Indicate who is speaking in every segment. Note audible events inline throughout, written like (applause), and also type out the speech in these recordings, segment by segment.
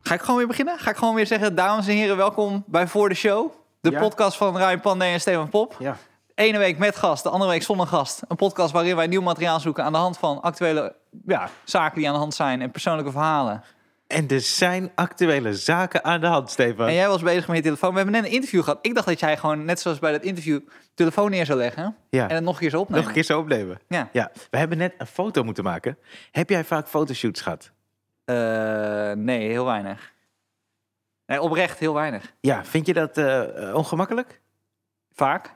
Speaker 1: Ga ik gewoon weer beginnen? Ga ik gewoon weer zeggen, dames en heren, welkom bij Voor de Show. De
Speaker 2: Ja.
Speaker 1: podcast van Ryan Pandey en Steven Pop.
Speaker 2: Ja.
Speaker 1: Ene week met gast, de andere week zonder gast. Een podcast waarin wij nieuw materiaal zoeken aan de hand van actuele ja, zaken die aan de hand zijn en persoonlijke verhalen.
Speaker 3: En er zijn actuele zaken aan de hand, Stefan.
Speaker 1: En jij was bezig met je telefoon. We hebben net een interview gehad. Ik dacht dat jij gewoon, net zoals bij dat interview, telefoon neer zou leggen.
Speaker 3: Ja.
Speaker 1: En het nog een keer zou opnemen.
Speaker 3: Nog een keer zo opnemen.
Speaker 1: Ja.
Speaker 3: Ja, we hebben net een foto moeten maken. Heb jij vaak fotoshoots gehad?
Speaker 1: Eh, nee, heel weinig. Nee, oprecht heel weinig.
Speaker 3: Ja, vind je dat eh, eh, ongemakkelijk?
Speaker 1: Vaak,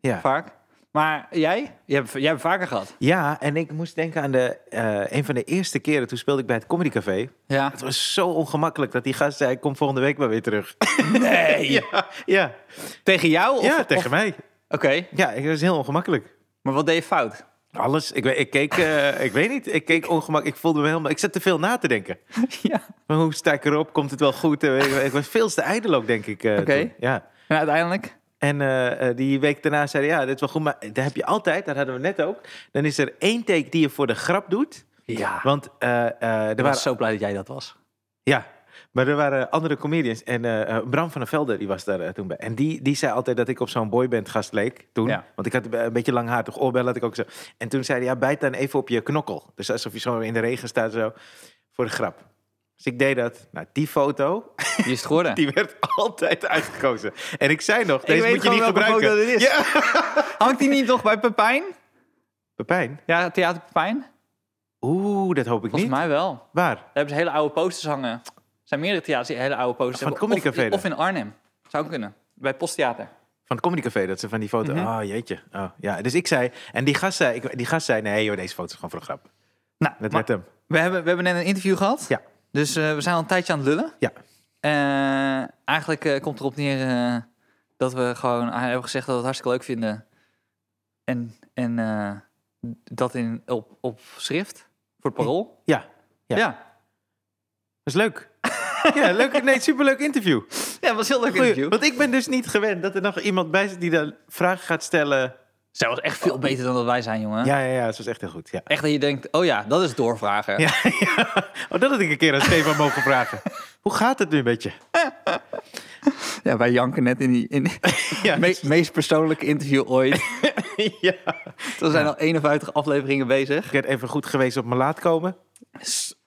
Speaker 3: Ja.
Speaker 1: vaak. Maar jij? Jij hebt, jij hebt vaker gehad.
Speaker 3: Ja, en ik moest denken aan de, eh, een van de eerste keren toen speelde ik bij het Comedy Café.
Speaker 1: Ja.
Speaker 3: Het was zo ongemakkelijk dat die gast zei: Kom volgende week maar weer terug.
Speaker 1: Nee.
Speaker 3: (laughs) ja, ja.
Speaker 1: Tegen jou? Of,
Speaker 3: ja
Speaker 1: of-
Speaker 3: tegen mij.
Speaker 1: Oké,
Speaker 3: Ja, het was heel ongemakkelijk.
Speaker 1: maar wat deed je
Speaker 3: (laughs)
Speaker 1: fout?
Speaker 3: Alles, ik, weet- ik keek, eh, ik weet niet, ik keek ongemak. Ik voelde me helemaal, ik zat te veel na te denken.
Speaker 1: ja.
Speaker 3: Maar hoe sta ik erop? Komt het wel goed? Eh, weet Ik, ik was veel te ijdel ook, denk ik. eh,
Speaker 1: Oké.
Speaker 3: toen. Ja.
Speaker 1: En uiteindelijk?
Speaker 3: En eh, eh, die week daarna zeiden ja, dit is wel goed. Maar daar heb je altijd, dat hadden we net ook. Dan is er één take die je voor de grap doet.
Speaker 1: Ja.
Speaker 3: Want eh, eh, er
Speaker 1: Ik
Speaker 3: waren...
Speaker 1: Ah. was zo blij dat jij dat was.
Speaker 3: Ja, maar er waren andere comedians. En eh, eh, Bram van der Velde, die was daar eh, toen bij. En die, die zei altijd dat ik op zo'n boyband gast leek toen.
Speaker 1: Ja.
Speaker 3: Want ik had eh, een beetje lang haar, toch oorbellen had ik ook zo. En toen zei hij, ja, bijt dan even op je knokkel. Dus alsof je zo in de regen staat zo, voor de grap. Dus ik deed dat. Nou, die foto,
Speaker 1: Die is het geworden.
Speaker 3: (laughs) die werd altijd uitgekozen. En ik zei nog,
Speaker 1: weet
Speaker 3: deze moet je
Speaker 1: gewoon
Speaker 3: niet
Speaker 1: welke
Speaker 3: gebruiken.
Speaker 1: foto dit is.
Speaker 3: Ja.
Speaker 1: (laughs) Hangt die niet toch bij Pepijn?
Speaker 3: Pepijn?
Speaker 1: Ja, Theater Pepijn?
Speaker 3: Oeh, dat hoop ik
Speaker 1: Volgens
Speaker 3: niet.
Speaker 1: mij wel. Daar
Speaker 3: Waar?
Speaker 1: hebben ze hele oude posters hangen. Er zijn meerdere theaters die hele oude posters
Speaker 3: Van het
Speaker 1: hebben.
Speaker 3: Comedy
Speaker 1: Of,
Speaker 3: Café
Speaker 1: of in Arnhem. Zou kunnen. Bij Posttheater.
Speaker 3: Van het Comedy Café, dat ze van die foto... Ah,
Speaker 1: Mhm.
Speaker 3: jeetje. Oh, ja. Dus ik zei... En die gast zei, ik, die gast zei nee joh, deze foto is gewoon voor de grap.
Speaker 1: Nou,
Speaker 3: Dat
Speaker 1: maar-
Speaker 3: werd hem.
Speaker 1: we, hebben, we hebben net een interview gehad.
Speaker 3: Ja.
Speaker 1: Dus eh, we zijn al een tijdje aan het lullen.
Speaker 3: Ja.
Speaker 1: Eh, eigenlijk eh, komt erop neer eh, dat we gewoon hebben gezegd dat we het hartstikke leuk vinden. En, en eh, dat in, op, op schrift voor het parool.
Speaker 3: Ja, ja.
Speaker 1: ja.
Speaker 3: dat is
Speaker 1: (laughs)
Speaker 3: leuk. ja, leuk, nee, superleuk interview.
Speaker 1: Ja, dat was een heel leuk
Speaker 3: Goeie-
Speaker 1: interview.
Speaker 3: want ik ben dus niet gewend dat er nog iemand bij zit die dan vragen gaat stellen.
Speaker 1: Zij was echt veel beter dan dat wij zijn, jongen.
Speaker 3: Oh. Ja, ja, ja, het was echt heel goed. Ja.
Speaker 1: Echt dat je denkt, oh ja, dat is doorvragen.
Speaker 3: Ja, ja. Oh, dat had ik een keer aan Stefan mogen
Speaker 1: (laughs)
Speaker 3: vragen. Hoe gaat het nu met je?
Speaker 1: Ja, wij janken net in die (laughs) in
Speaker 3: (laughs) Ja,
Speaker 1: me- meest persoonlijke interview (laughs) ooit.
Speaker 3: ja.
Speaker 1: We zijn al 51 afleveringen bezig.
Speaker 3: Ik werd even goed geweest op mijn laat komen.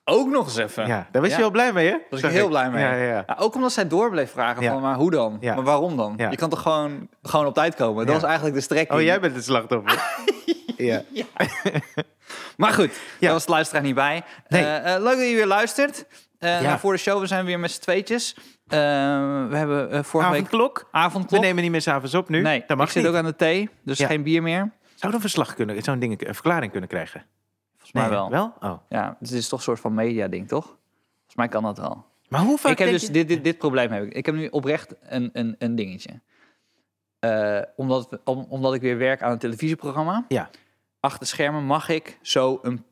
Speaker 1: Ook nog eens even.
Speaker 3: Ja, daar was je
Speaker 1: Ja.
Speaker 3: wel blij mee, hè? Daar
Speaker 1: was ik heel blij mee.
Speaker 3: Ja, ja, ja.
Speaker 1: Ja, ook omdat zij door bleef vragen
Speaker 3: Ja.
Speaker 1: van, maar hoe dan?
Speaker 3: Ja.
Speaker 1: Maar waarom dan?
Speaker 3: Ja.
Speaker 1: Je kan toch gewoon, gewoon op tijd komen? Dat
Speaker 3: Ja.
Speaker 1: was eigenlijk de strekking.
Speaker 3: Oh, jij bent het
Speaker 1: (laughs)
Speaker 3: slachtoffer. ja.
Speaker 1: Maar goed, daar
Speaker 3: Ja.
Speaker 1: was de luisteraar niet bij.
Speaker 3: Nee.
Speaker 1: Eh, eh, leuk dat je weer luistert. Eh,
Speaker 3: Ja.
Speaker 1: Voor de show, we zijn weer met z'n tweetjes. Eh, we hebben eh, vorige week
Speaker 3: Avondklok. We
Speaker 1: avondklok.
Speaker 3: nemen niet meer s'avonds op nu.
Speaker 1: nee,
Speaker 3: dat mag
Speaker 1: ik zit
Speaker 3: niet.
Speaker 1: ook aan de thee, dus
Speaker 3: Ja.
Speaker 1: geen bier meer.
Speaker 3: Zouden we een verslag kunnen, zo'n ding, een verklaring kunnen krijgen?
Speaker 1: Volgens mij wel.
Speaker 3: Wel? Oh.
Speaker 1: Ja, het is toch een soort van media-ding, toch? Volgens mij kan dat wel.
Speaker 3: Maar hoe vaak
Speaker 1: ik heb
Speaker 3: denk
Speaker 1: dus
Speaker 3: je-
Speaker 1: dit, dit, dit probleem heb ik. Ik heb nu oprecht een, een, een dingetje. Eh, omdat, we- om- omdat ik weer werk aan een televisieprogramma.
Speaker 3: Ja.
Speaker 1: Achter schermen mag ik zo een,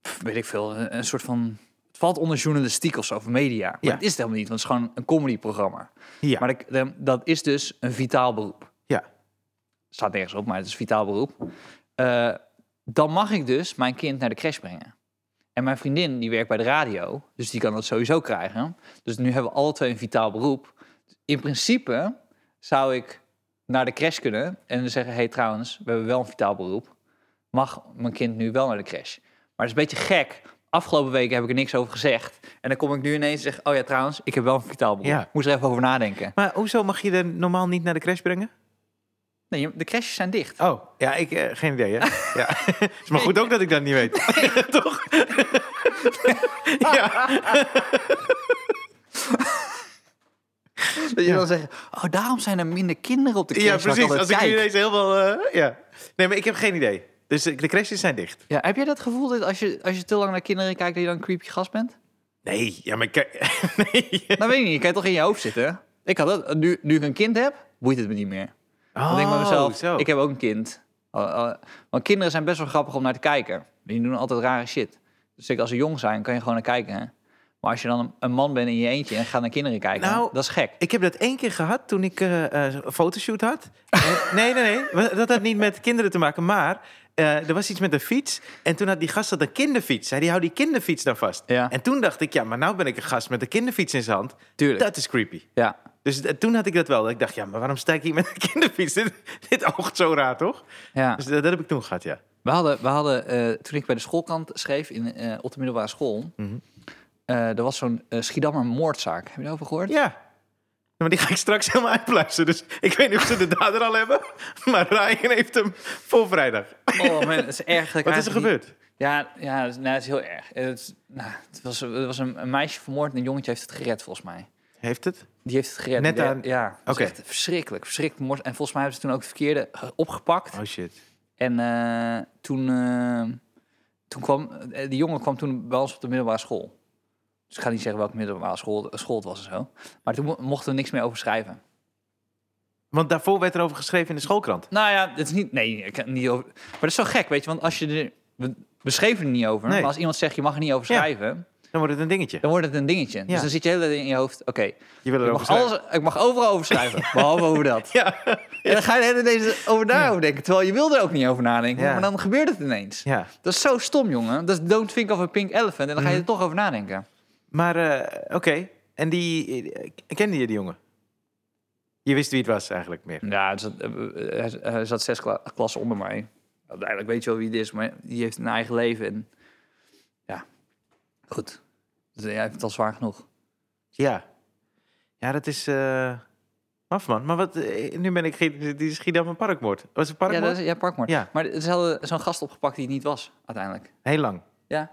Speaker 1: pff, weet ik veel, een, een soort van. Het valt onder journalistiek of zo, of media. Maar
Speaker 3: Ja.
Speaker 1: het is het helemaal niet, want het is gewoon een comedyprogramma.
Speaker 3: Ja.
Speaker 1: Maar ik- dan- dat is dus een vitaal beroep.
Speaker 3: Ja.
Speaker 1: Staat nergens op, maar het is een vitaal beroep. Eh, dan mag ik dus mijn kind naar de crash brengen. En mijn vriendin die werkt bij de radio, dus die kan dat sowieso krijgen. Dus nu hebben we alle twee een vitaal beroep. In principe zou ik naar de crash kunnen en dan zeggen: hey, trouwens, we hebben wel een vitaal beroep. Mag mijn kind nu wel naar de crash? Maar het is een beetje gek. Afgelopen weken heb ik er niks over gezegd. En dan kom ik nu ineens en zeg: Oh ja, trouwens, ik heb wel een vitaal beroep.
Speaker 3: Ja.
Speaker 1: Moest er even over nadenken.
Speaker 3: Maar hoezo mag je er normaal niet naar de crash brengen?
Speaker 1: Nee, je- de crashes zijn dicht.
Speaker 3: Oh, ja, ik, eh, geen idee,
Speaker 1: (laughs)
Speaker 3: hè? ja. is maar goed ook dat ik dat niet weet. Toch? ja.
Speaker 1: Dat je dan zegt: Oh, daarom zijn er minder kinderen op de crash.
Speaker 3: ja,
Speaker 1: waar
Speaker 3: precies.
Speaker 1: altijd
Speaker 3: Als ik
Speaker 1: kijk."
Speaker 3: nu ineens heel veel... eh, ja. Nee, maar ik heb geen idee. Dus eh, de crashes zijn dicht.
Speaker 1: Ja, heb jij dat gevoel dat als je, als je te lang naar kinderen kijkt, dat je dan een creepy gast bent?
Speaker 3: Nee, ja, maar kijk... (laughs) nee.
Speaker 1: Nou weet ik niet, je kan toch in je hoofd zitten? Ik had dat, nu, nu ik een kind heb, boeit het me niet meer. Dan denk ik bij mezelf,
Speaker 3: Oh, zo.
Speaker 1: ik heb ook een kind. Oh, oh, want kinderen zijn best wel grappig om naar te kijken. Die doen altijd rare shit. Dus zeker als ze jong zijn, kan je gewoon naar kijken. hè. Maar als je dan een- een man bent in je eentje en gaat naar kinderen kijken,
Speaker 3: Nou,
Speaker 1: dat is gek.
Speaker 3: Ik heb dat één keer gehad toen
Speaker 1: (laughs)
Speaker 3: ik eh, eh, een fotoshoot had. Eh, nee, nee, nee. Dat had niet met kinderen te maken. Maar eh, er was iets met een fiets. En toen had die gast dat een kinderfiets. Zei die, hou die kinderfiets dan vast.
Speaker 1: Ja.
Speaker 3: En toen dacht ik, ja, maar nou ben ik een gast met een kinderfiets in zijn hand.
Speaker 1: Tuurlijk.
Speaker 3: Dat is creepy.
Speaker 1: Ja.
Speaker 3: Dus eh, toen had ik dat wel. Dat ik dacht, ja, maar waarom sta ik hier met een (laughs) kinderfiets? Dit, dit oogt zo raar, toch?
Speaker 1: ja.
Speaker 3: Dus dat, dat heb ik toen gehad, ja.
Speaker 1: We hadden, we hadden eh, toen ik bij de schoolkant schreef in, eh, op de middelbare school,
Speaker 3: Mhm.
Speaker 1: eh, er was zo'n eh, Schiedammer moordzaak. Heb je daarover gehoord?
Speaker 3: Ja. Maar die ga ik straks helemaal uitpluizen. Dus ik weet niet of ze de dader al hebben. (laughs) Maar Ryan heeft hem voor vrijdag.
Speaker 1: Oh man, dat is erg.
Speaker 3: Wat is er gebeurd?
Speaker 1: Ja, ja dat is- nou, het is heel erg. Eh, Het, is- nou, het was, het was een, een meisje vermoord en een jongetje heeft het gered volgens mij.
Speaker 3: Heeft het?
Speaker 1: Die heeft het gered.
Speaker 3: Net
Speaker 1: Die-
Speaker 3: aan-
Speaker 1: Ja, het was
Speaker 3: Oké.
Speaker 1: echt verschrikkelijk. Verschrikkelijk moord. En volgens mij hebben ze toen ook het verkeerde eh, opgepakt.
Speaker 3: Oh shit.
Speaker 1: En eh, toen, eh, toen kwam, eh, die jongen kwam toen bij ons op de middelbare school. Dus ik ga niet zeggen welke middelbare school, eh, school het was en zo. Maar toen mo- mochten we niks meer over schrijven.
Speaker 3: Want daarvoor werd er over geschreven in de schoolkrant.
Speaker 1: Nou ja, het is niet, nee, ik kan het niet over. Maar dat is zo gek, weet je, want als je er, we, we schreven er niet over.
Speaker 3: Nee.
Speaker 1: Maar als iemand zegt je mag er niet over
Speaker 3: Ja.
Speaker 1: schrijven,
Speaker 3: Dan wordt het een dingetje.
Speaker 1: dan wordt het een dingetje. Dus
Speaker 3: Ja.
Speaker 1: dan zit je de hele tijd in je hoofd, oké,
Speaker 3: Je
Speaker 1: ik,
Speaker 3: wil erover
Speaker 1: mag
Speaker 3: schrijven.
Speaker 1: alles- ik mag overal over
Speaker 3: (laughs)
Speaker 1: schrijven, behalve over dat.
Speaker 3: Ja.
Speaker 1: En dan ga je de hele tijd deze- over daarover denken, terwijl je wil er ook niet over nadenken.
Speaker 3: Ja.
Speaker 1: Maar dan gebeurt het ineens.
Speaker 3: ja.
Speaker 1: Dat is zo stom, jongen. Dat is don't think of a pink elephant. En dan ga je er toch over nadenken.
Speaker 3: Maar eh, oké. En die... eh, Kende je die jongen? Je wist wie het was eigenlijk meer.
Speaker 1: Ja, hij zat, eh, eh, hij zat zes kla- klassen onder mij. Uiteindelijk weet je wel wie het is, maar die heeft een eigen leven. En ja, goed. Dus jij heeft het al zwaar genoeg.
Speaker 3: Ja. Ja, dat is... eh Af man, maar wat, eh, nu ben ik ge- die Schiedam een parkmoord. Was het
Speaker 1: Ja,
Speaker 3: parkmoord?
Speaker 1: dat is, ja, parkmoord.
Speaker 3: Ja.
Speaker 1: Maar ze hadden zo'n gast opgepakt die het niet was, uiteindelijk.
Speaker 3: Heel lang.
Speaker 1: Ja.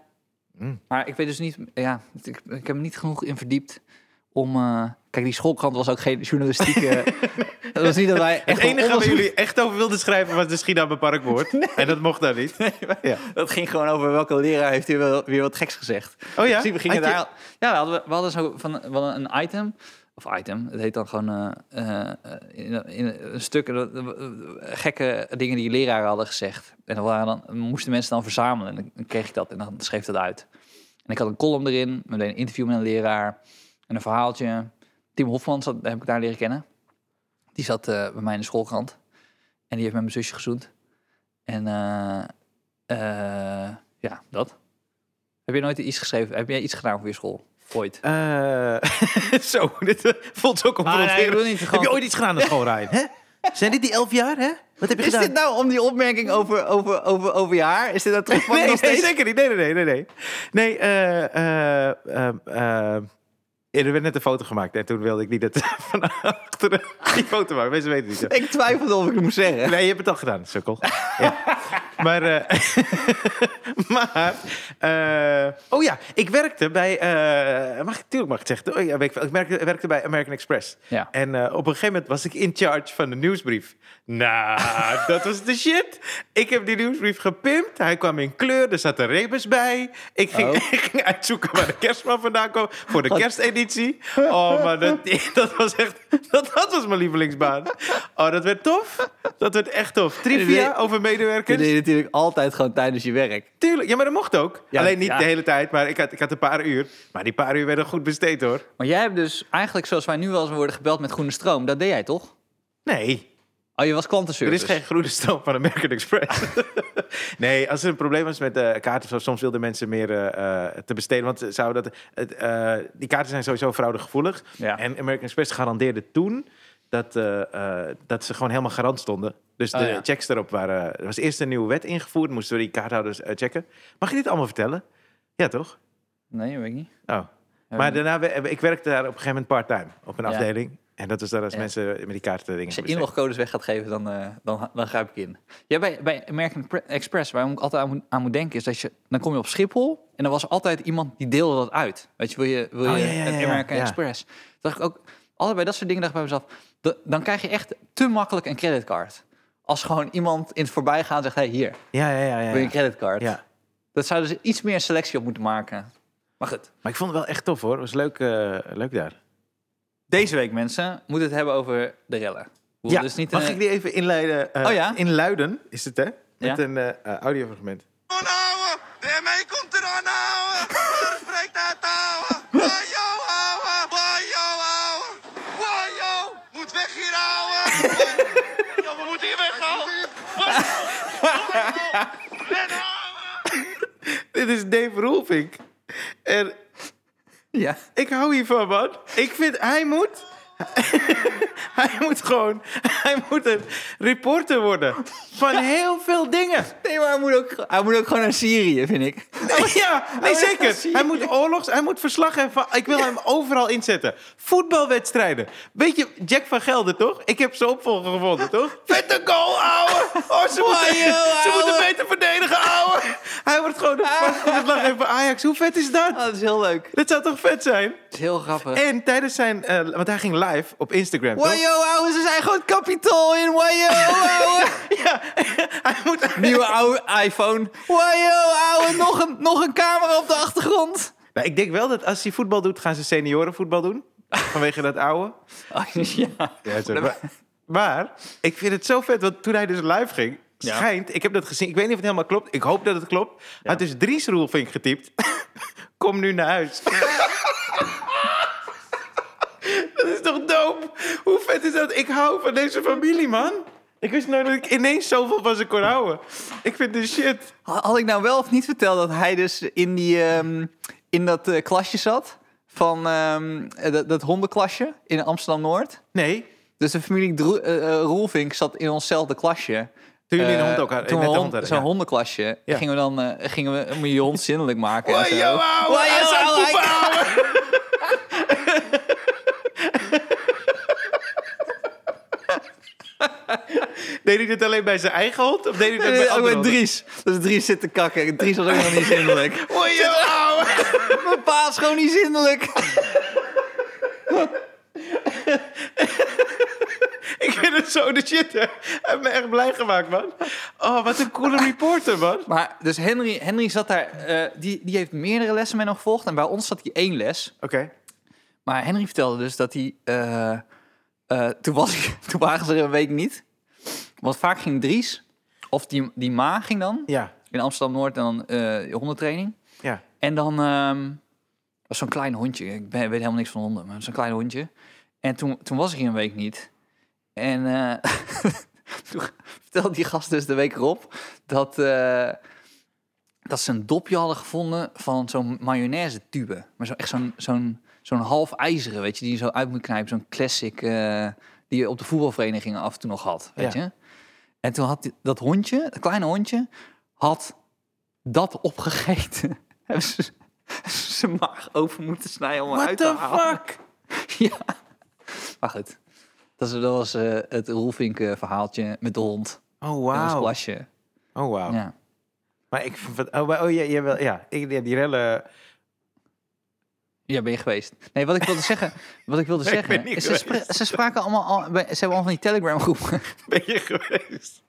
Speaker 3: Mm.
Speaker 1: Maar ik weet dus niet... Ja, ik, ik heb me niet genoeg in verdiept om... eh, kijk, die schoolkrant was ook geen journalistieke...
Speaker 3: (laughs)
Speaker 1: dat was niet dat wij...
Speaker 3: Het
Speaker 1: echt een
Speaker 3: enige waar
Speaker 1: onderzoek-
Speaker 3: jullie echt over wilden schrijven was de Schiedammer Parkwoord. En dat mocht dan niet. ja.
Speaker 1: Dat ging gewoon over welke leraar heeft hier wel, weer wat geks gezegd.
Speaker 3: Oh ja?
Speaker 1: In principe gingen
Speaker 3: Had je-
Speaker 1: daar... Ja, we hadden, we hadden zo van, we hadden een item... Of item, het heet dan gewoon eh, eh, in, in een stuk eh, eh, gekke dingen die leraren hadden gezegd. En dan, waren dan moesten mensen dan verzamelen. En dan- dan kreeg ik dat en dan schreef dat uit. En ik had een column erin, met een interview met een leraar en een verhaaltje. Tim Hofman zat, heb ik daar leren kennen. Die zat eh, bij mij in de schoolkrant. En die heeft met mijn zusje gezoend. En eh, eh, ja, dat. Heb je nooit iets geschreven? Heb jij iets gedaan voor je school? Ooit?
Speaker 3: Eh, (laughs) zo, dit eh, voelt zo confronterend.
Speaker 1: ik bedoel niet,
Speaker 3: Heb
Speaker 1: gewoon-
Speaker 3: je ooit iets (laughs) gedaan aan school, Ryan? Hè? Zijn dit die elf jaar, hè? Wat heb je
Speaker 1: Is
Speaker 3: gedaan?
Speaker 1: dit nou om die opmerking over, over, over, over je haar? Is dit dat terugpakken
Speaker 3: (laughs) nee,
Speaker 1: nog
Speaker 3: nee,
Speaker 1: steeds?
Speaker 3: zeker niet. Nee, nee, nee, nee. Nee, nee eh, eh, ehm, ehm, er werd net een foto gemaakt en toen wilde ik niet dat (laughs) van achteren die foto maken. Mensen weten het niet.
Speaker 1: Ik twijfelde of ik het moest
Speaker 3: (laughs)
Speaker 1: zeggen.
Speaker 3: Nee, je hebt het al gedaan, sukkel. (laughs) ja. Maar, eh, (laughs) maar eh, oh ja, ik werkte bij, eh, mag ik, tuurlijk mag ik het zeggen, oh, ja, weet ik, veel. ik werkte, werkte bij American Express.
Speaker 1: Ja.
Speaker 3: En eh, op een gegeven moment was ik in charge van de nieuwsbrief. Nou,
Speaker 1: (laughs)
Speaker 3: dat was de shit. Ik heb die nieuwsbrief gepimpt. Hij kwam in kleur, er zaten rebus bij. Ik ging,
Speaker 1: Oh.
Speaker 3: (laughs) ik ging uitzoeken waar de kerstman vandaan kwam voor de kersteditie. Oh,
Speaker 1: (laughs)
Speaker 3: maar dat, (laughs) dat was echt... Dat, dat was mijn lievelingsbaan. Oh, dat werd tof. Dat werd echt tof. Trivia over
Speaker 1: Je
Speaker 3: medewerkers.
Speaker 1: deed natuurlijk altijd gewoon tijdens je werk.
Speaker 3: Tuurlijk, ja, maar dat mocht ook.
Speaker 1: Ja,
Speaker 3: Alleen niet
Speaker 1: ja.
Speaker 3: de hele tijd, maar ik had, ik had een paar uur. Maar die paar uur werden goed besteed, hoor.
Speaker 1: Maar jij hebt dus eigenlijk, zoals wij nu wel eens worden gebeld met groene stroom, dat deed jij toch?
Speaker 3: Nee,
Speaker 1: Oh, je was
Speaker 3: Er
Speaker 1: klantenservice.
Speaker 3: is geen groene stroom van American Express. (laughs) nee, als er een probleem was met eh, kaarten of zo, soms wilden mensen meer eh, eh, te besteden. Want ze zouden dat, het, eh, die kaarten zijn sowieso fraudegevoelig.
Speaker 1: Ja.
Speaker 3: En American Express garandeerde toen dat, eh, eh, dat ze gewoon helemaal garant stonden. Dus de
Speaker 1: Oh, ja.
Speaker 3: checks erop waren... Er was eerst een nieuwe wet ingevoerd, moesten we die kaarthouders eh, checken. Mag je dit allemaal vertellen? Ja, toch?
Speaker 1: Nee, dat weet ik niet.
Speaker 3: Oh. Maar daarna, we- ik werkte daar op een gegeven moment part-time op een
Speaker 1: Ja.
Speaker 3: afdeling. En dat was daar als
Speaker 1: Ja.
Speaker 3: mensen met die kaarten dingen
Speaker 1: Als je
Speaker 3: besteden.
Speaker 1: inlogcodes weg gaat geven, dan, eh dan, dan grijp ik in. Ja, bij, bij American Pre- Express, waar ik altijd aan moet, aan moet denken, is dat je... Dan kom je op Schiphol en er was altijd iemand die deelde dat uit. Weet je, wil je, wil je
Speaker 3: Oh, ja, ja,
Speaker 1: een
Speaker 3: ja,
Speaker 1: American
Speaker 3: ja.
Speaker 1: Express? Toen dacht ik ook, allebei dat soort dingen dacht ik bij mezelf... da- dan krijg je echt te makkelijk een creditcard. Als gewoon iemand in het voorbijgaan zegt, hey, hier,
Speaker 3: Ja, ja, ja. ja,
Speaker 1: wil je een
Speaker 3: ja.
Speaker 1: creditcard?
Speaker 3: ja.
Speaker 1: Dat zouden ze iets meer selectie op moeten maken. Maar goed.
Speaker 3: Maar ik vond het wel echt tof hoor. Het was leuk, eh, leuk daar.
Speaker 1: Deze week, mensen, moet het hebben over de rellen. Hoe
Speaker 3: Ja,
Speaker 1: het is niet
Speaker 3: mag
Speaker 1: een-
Speaker 3: ik die even inleiden? eh,
Speaker 1: Oh ja?
Speaker 3: Inluiden is het hè? Met
Speaker 1: Ja.
Speaker 3: een eh, eh, audiofragment.
Speaker 2: Aanhouden! De mij komt er aan houden! Waar spreekt uit houden? Wajo houden! Wajo houden! Wajo! Moet weg hier houden! Ja, we moeten hier weg houden!
Speaker 3: Dit is Dave Roelvink. En
Speaker 1: Ja.
Speaker 3: ik hou hiervan, man. Ik vind, hij moet... (laughs) hij moet gewoon... (laughs) Hij moet een reporter worden. Van heel veel dingen.
Speaker 1: Nee, maar hij moet, ook, hij moet ook gewoon naar Syrië, vind ik.
Speaker 3: Oh, Ja, nee,
Speaker 1: moet naar
Speaker 3: zeker.
Speaker 1: Syrië.
Speaker 3: Hij moet oorlogs... Hij moet verslag hebben. van- Ik wil hem overal inzetten. Voetbalwedstrijden. Weet je, Jack van Gelder, toch? Ik heb zijn opvolger gevonden, toch? (laughs) Vette goal, ouwe! Oh, ze moeten,
Speaker 1: Wajo,
Speaker 3: ze moeten
Speaker 1: ouwe.
Speaker 3: beter verdedigen, ouwe! Hij wordt gewoon de vastgoedlag van Ajax. Hoe vet is dat?
Speaker 1: Oh, dat is heel leuk.
Speaker 3: Dat zou toch vet zijn?
Speaker 1: Dat is heel grappig.
Speaker 3: En tijdens zijn... eh, want hij ging live op Instagram, toch?
Speaker 1: Wajo, ouwe, ze zijn gewoon kapitaal in. Wajo, ouwe.
Speaker 3: Ja, (laughs) hij moet...
Speaker 1: (laughs) Nieuwe oude iPhone. Wajo, ouwe, nog een, nog een camera op de achtergrond.
Speaker 3: (laughs) Nou, ik denk wel dat als hij voetbal doet, gaan ze seniorenvoetbal doen. Vanwege dat oude.
Speaker 1: Oh, ja.
Speaker 3: Ja, zo, maar, maar ik vind het zo vet, want toen hij dus live ging,
Speaker 1: Ja.
Speaker 3: schijnt, ik heb dat gezien, ik weet niet of het helemaal klopt, ik hoop dat het klopt, had dus Dries Roelvink getypt. (laughs) Kom nu naar huis. (laughs) dat is toch dope? Hoe vet is dat? Ik hou van deze familie, man. Ik wist nooit dat ik ineens zoveel van ze kon houden. Ik vind dit shit.
Speaker 1: Had ik nou wel of niet verteld dat hij dus in, die, ehm, in dat eh, klasje zat? Van ehm, eh, dat, dat hondenklasje in Amsterdam-Noord?
Speaker 3: Nee,
Speaker 1: Dus de familie Droe- eh, eh, Roelvink zat in onszelfde klasje.
Speaker 3: toen jullie een
Speaker 1: Eh,
Speaker 3: hond ook hadden.
Speaker 1: Toen
Speaker 3: net
Speaker 1: we hond-
Speaker 3: een hond hadden,
Speaker 1: zo'n
Speaker 3: ja.
Speaker 1: hondenklasje
Speaker 3: Ja.
Speaker 1: gingen we dan eh, gingen we een miljoen zinnelijk maken. en zo.
Speaker 3: Wajo, ouwe,
Speaker 1: Wajo,
Speaker 3: hij zou
Speaker 1: ouwe,
Speaker 3: poepen,
Speaker 1: hij-
Speaker 3: ouwe. Deed hij dit alleen bij zijn eigen hond? Of deed hij dit
Speaker 1: Nee,
Speaker 3: bij
Speaker 1: ook
Speaker 3: andere
Speaker 1: met
Speaker 3: honden?
Speaker 1: Dries. Dus Dries zit te kakken. Dries was ook nog niet
Speaker 3: (laughs)
Speaker 1: zinnelijk.
Speaker 3: Wajo, ouwe.
Speaker 1: Mijn pa is gewoon niet zinnelijk.
Speaker 3: Ik vind het zo de shit, hè. Hij heeft me echt blij gemaakt, man. Oh, wat een coole reporter, man.
Speaker 1: Maar dus Henry, Henry zat daar, eh, die, die heeft meerdere lessen met hem gevolgd. En bij ons zat hij één les.
Speaker 3: Oké.
Speaker 1: Maar Henry vertelde dus dat hij, eh, eh, toen, was ik, (laughs) toen waren ze er een week niet. Want vaak ging Dries, of die, die Ma ging dan,
Speaker 3: Ja,
Speaker 1: in Amsterdam-Noord en dan eh hondentraining.
Speaker 3: ja.
Speaker 1: En dan ehm, was zo'n klein hondje. Ik ben, weet helemaal niks van honden, maar zo'n klein hondje. En toen, toen was ik hier een week niet. En eh, (laughs) toen vertelde die gast dus de week erop dat, eh, dat ze een dopje hadden gevonden van zo'n mayonaise tube. Maar zo, echt zo'n, zo'n, zo'n half ijzeren, weet je, die je zo uit moet knijpen. Zo'n classic eh, die je op de voetbalverenigingen af en toe nog had, weet
Speaker 3: Ja.
Speaker 1: je. En toen had die- dat hondje, dat kleine hondje, had dat opgegeten. (laughs) Hebben ze hebben ze zijn maag open moeten snijden om het
Speaker 3: What
Speaker 1: uit te
Speaker 3: the
Speaker 1: halen.
Speaker 3: fuck?
Speaker 1: (laughs) Ja. Maar goed. Dat, is, dat was eh, het Roelvink eh, verhaaltje met de hond.
Speaker 3: Oh,
Speaker 1: En ons
Speaker 3: wauw.
Speaker 1: plasje.
Speaker 3: Oh, wauw.
Speaker 1: Ja.
Speaker 3: Maar ik vind... wat- Oh, maar- oh ja, jawel, ja. Ik, ja, die rellen...
Speaker 1: ja, ben je geweest. Nee, wat ik wilde
Speaker 3: (laughs)
Speaker 1: zeggen, wat ik wilde
Speaker 3: Nee, ik
Speaker 1: zeggen
Speaker 3: ben niet
Speaker 1: is ze, spra- ze spraken allemaal, al, bij- ze hebben allemaal van die Telegram groepen.
Speaker 3: (laughs)
Speaker 1: (laughs)
Speaker 3: Ben je geweest?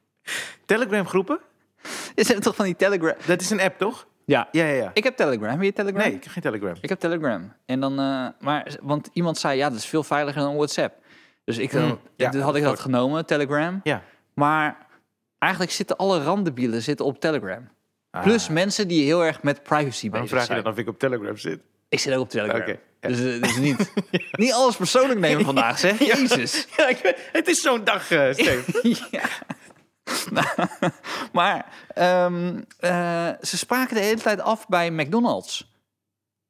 Speaker 3: Telegram groepen?
Speaker 1: ze hebben toch van die Telegram...
Speaker 3: Dat is een app, toch?
Speaker 1: Ja.
Speaker 3: Ja, ja, ja.
Speaker 1: Ik heb Telegram. Heb je Telegram?
Speaker 3: Nee, ik heb geen Telegram.
Speaker 1: Ik heb Telegram. En dan, eh, maar, want iemand zei, ja, dat is veel veiliger dan WhatsApp. Dus ik,
Speaker 3: Mm, ja,
Speaker 1: dus had ik dat genomen, Telegram.
Speaker 3: Ja.
Speaker 1: Maar eigenlijk zitten alle randdebielen zitten op Telegram. Plus mensen die heel erg met privacy
Speaker 3: Dan
Speaker 1: bezig
Speaker 3: Ah. vraag je
Speaker 1: zijn.
Speaker 3: dan of ik op Telegram zit. (laughs)
Speaker 1: Ik zit ook op Telegram.
Speaker 3: Oké, ja.
Speaker 1: Dus, eh, dus
Speaker 3: (laughs)
Speaker 1: niet, niet alles persoonlijk nemen vandaag, zeg. Jezus.
Speaker 3: Ja, ik weet- het is zo'n dag, eh Steve.
Speaker 1: (laughs) ja. Nou, maar ehm, eh, ze spraken de hele tijd af bij McDonald's.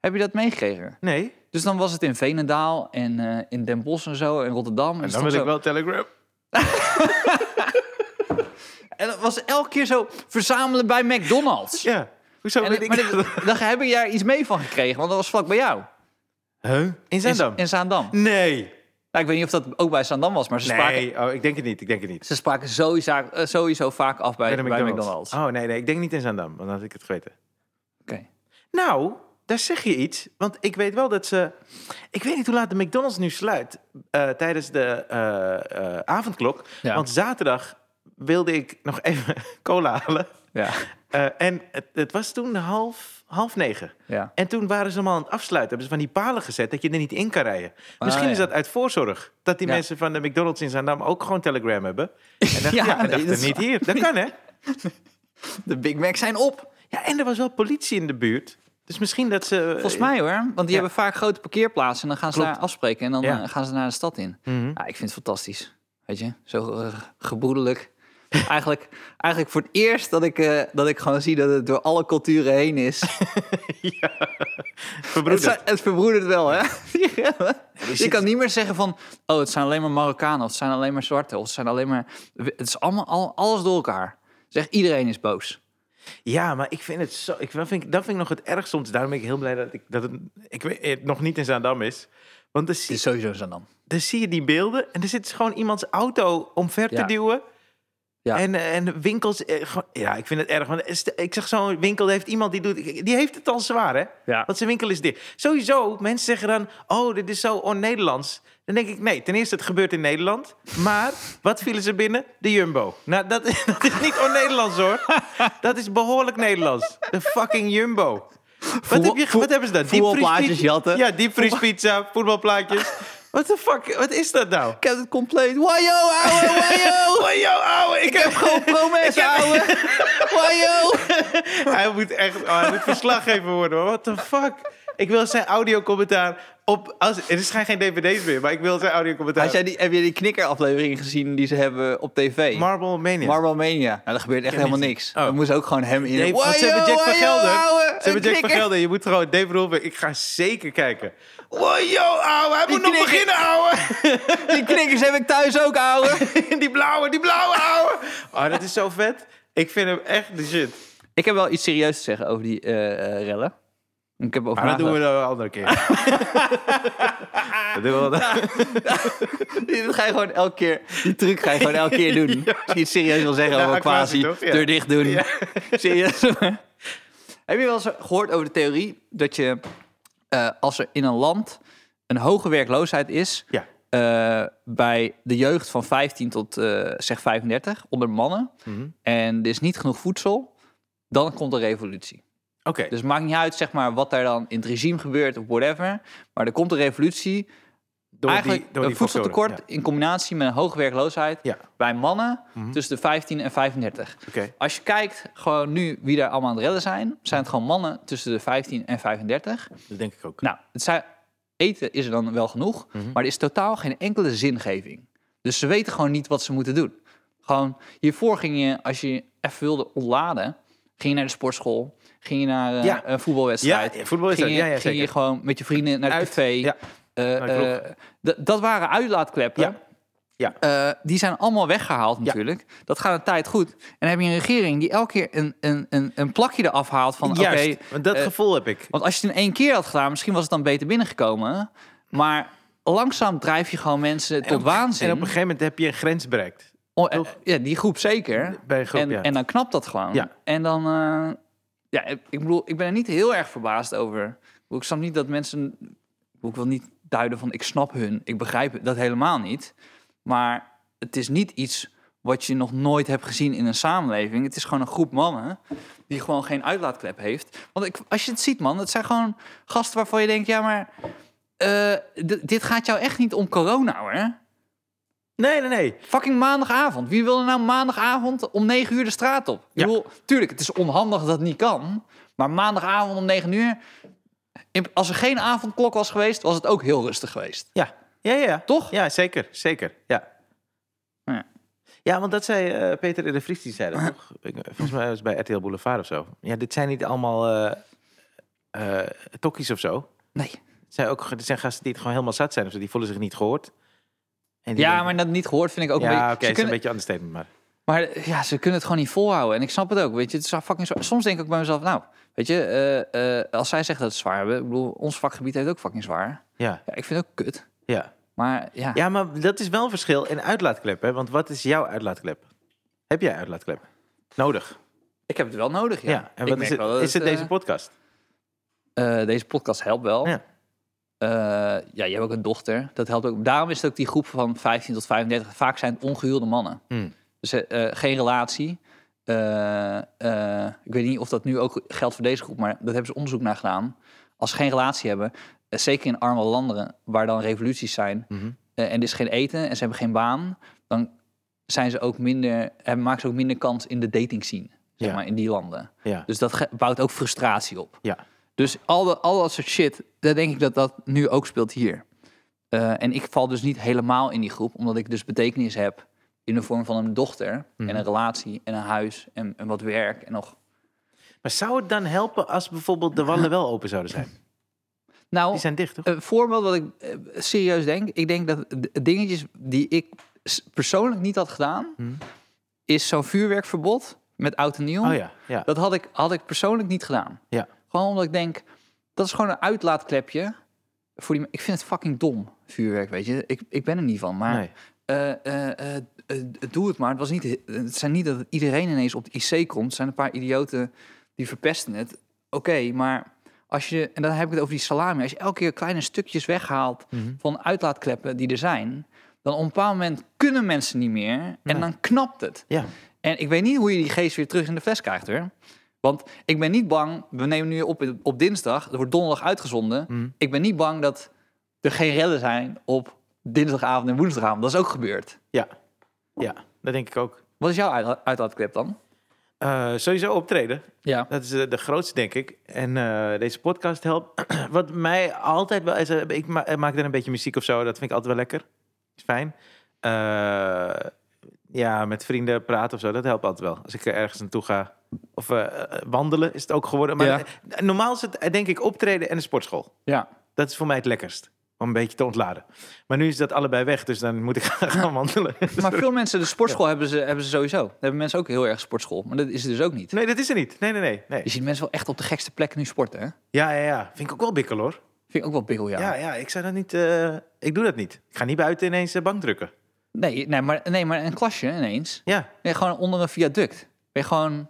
Speaker 1: Heb je dat meegekregen?
Speaker 3: Nee,
Speaker 1: Dus dan was het in Venendaal en eh, in Den Bosch en zo en Rotterdam. Dus
Speaker 3: en
Speaker 1: En,
Speaker 3: dan
Speaker 1: dan
Speaker 3: wil ik wel Telegram.
Speaker 1: en dat was elke keer zo verzamelen bij McDonald's.
Speaker 3: Ja, hoezo
Speaker 1: En,
Speaker 3: weet
Speaker 1: maar
Speaker 3: ik dat?
Speaker 1: dit- dan heb ik daar iets mee van gekregen, want dat was vlak bij jou.
Speaker 3: (laughs) Huh? In Zandam?
Speaker 1: In, in Zaandam.
Speaker 3: Nee.
Speaker 1: Nou, ik weet niet of dat ook bij Zaandam was, maar ze spraken,
Speaker 3: Nee, oh, ik denk het niet, ik denk het niet.
Speaker 1: ze spraken sowieso, eh, sowieso vaak af bij,
Speaker 3: Bij de
Speaker 1: bij
Speaker 3: McDonald's.
Speaker 1: McDonald's.
Speaker 3: Oh, nee, nee, ik denk niet in Zandam, want dan had ik het geweten.
Speaker 1: Oké.
Speaker 3: Nou, daar zeg je iets. Want ik weet wel dat ze. Ik weet niet hoe laat de McDonald's nu sluit. eh, tijdens de eh, eh, avondklok.
Speaker 1: Ja.
Speaker 3: Want zaterdag wilde ik nog even (laughs) cola halen.
Speaker 1: Ja.
Speaker 3: Eh, en het, het was toen half, half negen.
Speaker 1: ja.
Speaker 3: En toen waren ze allemaal aan het afsluiten. Hebben ze van die palen gezet dat je er niet in kan rijden. Misschien
Speaker 1: Ah, ja.
Speaker 3: is dat uit voorzorg. Dat die
Speaker 1: Ja.
Speaker 3: mensen van de McDonald's in Zaandam ook gewoon Telegram hebben. En dachten, ja,
Speaker 1: (laughs) Ja,
Speaker 3: en
Speaker 1: nee,
Speaker 3: dachten,
Speaker 1: dat is
Speaker 3: niet
Speaker 1: waar.
Speaker 3: hier. Dat kan, hè?
Speaker 1: De Big Macs zijn op.
Speaker 3: Ja, en er was wel politie in de buurt. Dus misschien dat ze...
Speaker 1: Volgens mij hoor. Want die hebben vaak grote parkeerplaatsen. En dan gaan ze
Speaker 3: Klopt.
Speaker 1: daar afspreken. En dan
Speaker 3: Ja.
Speaker 1: eh, gaan ze naar de stad in.
Speaker 3: Mhm.
Speaker 1: Ja, ik vind het fantastisch. Weet je, zo eh, gebroedelijk. Eigenlijk, eigenlijk voor het eerst dat ik, eh, dat ik gewoon zie dat het door alle culturen heen is. Het,
Speaker 3: Verbroederd.
Speaker 1: zijn- het verbroedert wel, (laughs) hè? Je
Speaker 3: zit-
Speaker 1: kan niet meer zeggen van, oh, het zijn alleen maar Marokkanen, of het zijn alleen maar Zwarte, of het zijn alleen maar... Het is allemaal, al, alles door elkaar. Zeg, iedereen is boos.
Speaker 3: Ja, maar ik vind het zo. Ik, dat, vind ik, dat vind ik nog het ergst soms. Daarom ben ik heel blij dat, ik, dat het, ik weet, het nog niet in Zaandam is. Want dan
Speaker 1: Het
Speaker 3: zie,
Speaker 1: is sowieso zo dan.
Speaker 3: dan zie je die beelden en er zit dus gewoon iemands auto omver
Speaker 1: Ja.
Speaker 3: te duwen.
Speaker 1: Ja.
Speaker 3: En, eh, en winkels. eh, gewoon- Ja, ik vind het erg. Want is de- ik zeg zo'n winkel heeft iemand die doet. Die heeft het al zwaar, hè?
Speaker 1: Ja.
Speaker 3: Want zijn winkel is dicht. Sowieso, mensen zeggen dan: Oh, dit is zo on-Nederlands. Dan denk ik: Nee, ten eerste, het gebeurt in Nederland. Maar wat vielen ze binnen? De Jumbo. Nou, dat, (laughs) dat is niet on-Nederlands hoor. Dat is behoorlijk Nederlands. De fucking Jumbo. Wat, heb je,
Speaker 1: voel-
Speaker 3: wat hebben ze daar?
Speaker 1: voetbalplaatjes
Speaker 3: Diepvriespizza-
Speaker 1: jatten.
Speaker 3: Ja, diepvriespizza, (laughs) voetbalplaatjes. Wat de fuck? Wat is dat nou?
Speaker 1: Ik heb het compleet. Wajo, ouwe, wajo! (laughs)
Speaker 3: Wajo, ouwe, ik heb
Speaker 1: Gewoon promes, ouwe! Wajo!
Speaker 3: Hij moet echt oh, hij moet verslaggever worden. hoor. What the fuck? Ik wil zijn audiocommentaar op... Als, er zijn geen dvd's meer, maar ik wil zijn audiocommentaar.
Speaker 1: Had jij die, heb je die knikkeraflevering gezien die ze hebben op tv?
Speaker 3: Marble Mania.
Speaker 1: Marble Mania. Nou, daar gebeurt echt helemaal niks.
Speaker 3: Oh.
Speaker 1: We moesten ook gewoon hem in.
Speaker 3: Dave, want ze
Speaker 1: Wajo,
Speaker 3: hebben Jack van
Speaker 1: wajo,
Speaker 3: Gelder.
Speaker 1: ouwe,
Speaker 3: Ze
Speaker 1: een
Speaker 3: hebben Jack van
Speaker 1: knikker.
Speaker 3: Gelder. Je moet gewoon Dave Roelbeek. Ik ga zeker kijken. Wajo, ouwe. Hij moet nog
Speaker 1: knikker.
Speaker 3: beginnen, ouwe. (laughs)
Speaker 1: Die knikkers heb ik thuis ook, ouwe.
Speaker 3: die blauwe, die blauwe, ouwe. Oh, dat is zo vet. Ik vind hem echt de shit.
Speaker 1: ik heb wel iets serieus te zeggen over die eh, eh, rellen. Ik heb over
Speaker 3: Maar dat doen we dan een andere keer.
Speaker 1: (laughs)
Speaker 3: dat doen we wel.
Speaker 1: (laughs) Dit ga je gewoon elke keer, die truc ga je gewoon elke keer
Speaker 3: (laughs)
Speaker 1: doen. Als je iets serieus wil zeggen
Speaker 3: Ja,
Speaker 1: over
Speaker 3: quasi,
Speaker 1: quasi,
Speaker 3: toch? Ja.
Speaker 1: deur dicht doen. (laughs) Serieus. Heb je wel eens gehoord over de theorie dat je, eh, als er in een land een hoge werkloosheid is,
Speaker 3: Ja.
Speaker 1: eh, bij de jeugd van 15 tot eh, zeg 35, onder mannen,
Speaker 3: Mhm.
Speaker 1: en er is niet genoeg voedsel, dan komt een revolutie.
Speaker 3: Oké.
Speaker 1: Dus het maakt niet uit zeg maar, wat daar dan in het regime gebeurt of whatever. Maar er komt een revolutie
Speaker 3: Door die-
Speaker 1: Eigenlijk
Speaker 3: door
Speaker 1: een
Speaker 3: die
Speaker 1: voedseltekort
Speaker 3: factoren.
Speaker 1: in combinatie met een hoge werkloosheid
Speaker 3: Ja.
Speaker 1: bij mannen tussen de 15 en 35.
Speaker 3: Ja. Oké.
Speaker 1: Als je kijkt gewoon nu wie daar allemaal aan het redden zijn, zijn het gewoon mannen tussen de 15 en 35.
Speaker 3: Dat denk ik ook.
Speaker 1: Nou, het zijn, eten is er dan wel genoeg,
Speaker 3: Mhm.
Speaker 1: maar er is totaal geen enkele zingeving. Dus ze weten gewoon niet wat ze moeten doen. Gewoon, hiervoor ging je, als je even wilde ontladen, ging je naar de sportschool, ging je naar eh,
Speaker 3: Ja.
Speaker 1: een voetbalwedstrijd.
Speaker 3: Ja, voetbalwedstrijd,
Speaker 1: Ging je,
Speaker 3: ja, ja,
Speaker 1: ging je
Speaker 3: zeker.
Speaker 1: gewoon met je vrienden naar het
Speaker 3: Uit,
Speaker 1: café.
Speaker 3: ja.
Speaker 1: Eh,
Speaker 3: Nou, klopt.
Speaker 1: eh, d- dat waren uitlaatkleppen.
Speaker 3: Ja. Ja.
Speaker 1: Eh, die zijn allemaal weggehaald natuurlijk. Dat gaat een tijd goed. En dan heb je een regering die elke keer een, een, een, een plakje eraf haalt van... oké.
Speaker 3: Juist, want dat
Speaker 1: eh,
Speaker 3: gevoel heb ik.
Speaker 1: want als je het in één keer had gedaan, misschien was het dan beter binnengekomen. Maar langzaam drijf je gewoon mensen tot waanzin.
Speaker 3: En op een gegeven moment heb je een grens bereikt.
Speaker 1: Oh, eh, ja, die groep zeker.
Speaker 3: Bij een groep,
Speaker 1: en,
Speaker 3: ja.
Speaker 1: en dan knapt dat gewoon.
Speaker 3: Ja.
Speaker 1: En dan... eh, ja, ik ik bedoel, ik ben er niet heel erg verbaasd over. Ik snap niet dat mensen... Ik wil niet duiden van ik snap hun, ik begrijp het, dat helemaal niet. Maar het is niet iets wat je nog nooit hebt gezien in een samenleving. Het is gewoon een groep mannen die gewoon geen uitlaatklep heeft. Want ik, als je het ziet, man, het zijn gewoon gasten waarvan je denkt... Ja, maar eh, d- dit gaat jou echt niet om corona, hoor.
Speaker 3: Nee, nee, nee.
Speaker 1: Fucking maandagavond. Wie wil er nou maandagavond om 9 uur de straat op?
Speaker 3: Ja.
Speaker 1: Ik bedoel, tuurlijk, het is onhandig dat het niet kan. Maar maandagavond om 9 uur. in- Als er geen avondklok was geweest, was het ook heel rustig geweest.
Speaker 3: Ja. Ja, ja, ja.
Speaker 1: Toch?
Speaker 3: Ja, zeker. Zeker. Ja.
Speaker 1: Ja.
Speaker 3: Ja, want dat zei eh, Peter de Vries, die zei dat toch? Ik- eh, Volgens mij was het bij RTL Boulevard of zo. Ja, dit zijn niet allemaal eh eh, tokkies of zo.
Speaker 1: Nee.
Speaker 3: Het zijn ook dit zijn gasten die het gewoon helemaal zat zijn. Of zo. Die voelen zich niet gehoord. En die
Speaker 1: Ja,
Speaker 3: denken-
Speaker 1: maar dat niet gehoord vind ik ook een
Speaker 3: Ja,
Speaker 1: beetje.
Speaker 3: oké,
Speaker 1: ze
Speaker 3: het is een
Speaker 1: kunnen-
Speaker 3: beetje anders statement, maar...
Speaker 1: Maar ja, ze kunnen het gewoon niet volhouden. En ik snap het ook, weet je. Het is fucking zwaar. Soms denk ik ook bij mezelf, nou, weet je, eh, eh, als zij zegt dat ze het zwaar hebben. Ik bedoel, ons vakgebied heeft ook fucking zwaar.
Speaker 3: Ja,
Speaker 1: Ja, ik vind het ook kut.
Speaker 3: ja.
Speaker 1: Maar ja,
Speaker 3: Ja, maar dat is wel een verschil in uitlaatklep, hè? Want wat is jouw uitlaatklep? Heb jij uitlaatklep? Nodig.
Speaker 1: ik heb het wel nodig. Ja,
Speaker 3: Ja. En
Speaker 1: Ik
Speaker 3: wat
Speaker 1: merk
Speaker 3: is het?
Speaker 1: wel dat
Speaker 3: Is het
Speaker 1: eh,
Speaker 3: deze podcast?
Speaker 1: Eh, deze podcast helpt wel.
Speaker 3: Ja.
Speaker 1: Ja. ja, je hebt ook een dochter. Dat helpt ook. Daarom is het ook die groep van 15 tot 35. Vaak zijn het ongehuwde mannen.
Speaker 3: Hmm.
Speaker 1: Dus eh, eh, geen relatie. Eh, eh, ik weet niet of dat nu ook geldt voor deze groep, maar dat hebben ze onderzoek naar gedaan. Als ze geen relatie hebben, eh, zeker in arme landen waar dan revoluties zijn
Speaker 3: Mhm.
Speaker 1: eh, en er is geen eten en ze hebben geen baan, dan zijn ze ook minder, hebben, maken ze ook minder kans in de dating scene, zeg
Speaker 3: Ja.
Speaker 1: maar, in die landen.
Speaker 3: Ja.
Speaker 1: Dus dat ge- bouwt ook frustratie op.
Speaker 3: Ja.
Speaker 1: Dus al, de, al dat soort shit, daar denk ik dat dat nu ook speelt hier. Eh, en ik val dus niet helemaal in die groep, omdat ik dus betekenis heb in de vorm van een dochter
Speaker 3: Mhm.
Speaker 1: en een relatie en een huis en, en wat werk en nog.
Speaker 3: Maar zou het dan helpen als bijvoorbeeld de wallen wel open zouden zijn?
Speaker 1: Nou,
Speaker 3: Die zijn dicht, toch?
Speaker 1: een voorbeeld wat ik eh, serieus denk. Ik denk dat d- dingetjes die ik s- persoonlijk niet had gedaan,
Speaker 3: Mhm.
Speaker 1: is zo'n vuurwerkverbod met oud en nieuw.
Speaker 3: Oh ja, ja.
Speaker 1: Dat had ik, had ik persoonlijk niet gedaan.
Speaker 3: ja.
Speaker 1: Gewoon omdat ik denk, dat is gewoon een uitlaatklepje. Voor die, me- ik vind het fucking dom, vuurwerk, weet je. Ik, ik ben er niet van, maar
Speaker 3: Nee.
Speaker 1: eh, eh, eh, eh, doe het maar. Het, was niet, het zijn niet dat iedereen ineens op de IC komt. Het zijn een paar idioten die verpesten het. Oké, maar als je, en dan heb ik het over die salami. Als je elke keer kleine stukjes weghaalt
Speaker 3: Mhm.
Speaker 1: van uitlaatkleppen die er zijn... dan op een bepaald moment kunnen mensen niet meer en
Speaker 3: Nee.
Speaker 1: dan knapt het.
Speaker 3: Ja.
Speaker 1: En ik weet niet hoe je die geest weer terug in de fles krijgt, hoor. Want ik ben niet bang... We nemen nu op op dinsdag. Het wordt donderdag uitgezonden.
Speaker 3: Mhm.
Speaker 1: Ik ben niet bang dat er geen rellen zijn op dinsdagavond en woensdagavond. Dat is ook gebeurd.
Speaker 3: ja. Ja, dat denk ik ook.
Speaker 1: Wat is jouw uitla- uitlaatklep dan?
Speaker 3: Eh, sowieso optreden.
Speaker 1: Ja.
Speaker 3: Dat is eh, de grootste, denk ik. En eh, deze podcast helpt. (clears throat) Wat mij altijd wel is, eh, ik ma- eh, maak dan een beetje muziek of zo. Dat vind ik altijd wel lekker. Is fijn. Eh, ja, met vrienden praten of zo, dat helpt altijd wel. Als ik ergens naartoe ga. Of eh, eh, wandelen is het ook geworden. Maar
Speaker 1: Ja.
Speaker 3: eh, normaal is het, eh, denk ik, optreden en de sportschool.
Speaker 1: Ja.
Speaker 3: Dat is voor mij het lekkerst. Om een beetje te ontladen. Maar nu is dat allebei weg, dus dan moet ik (laughs) gaan wandelen.
Speaker 1: Maar veel mensen, de sportschool hebben, ze, hebben ze sowieso. Dan hebben mensen ook heel erg sportschool. Maar dat is het dus ook niet.
Speaker 3: (laughs) Nee, dat is er niet. Nee, nee, nee. nee.
Speaker 1: Je ziet mensen wel echt op de gekste plekken nu sporten, hè?
Speaker 3: Ja, ja, ja. Vind ik ook wel bikkel, hoor.
Speaker 1: Vind ik ook wel bigel, ja.
Speaker 3: Ja, ja, ik zou dat niet. eh, ik doe dat niet. Ik ga niet buiten ineens eh, bank drukken.
Speaker 1: Nee, nee, maar, nee, maar een klasje ineens.
Speaker 3: Ja,
Speaker 1: Nee, gewoon onder een viaduct. Ben je gewoon,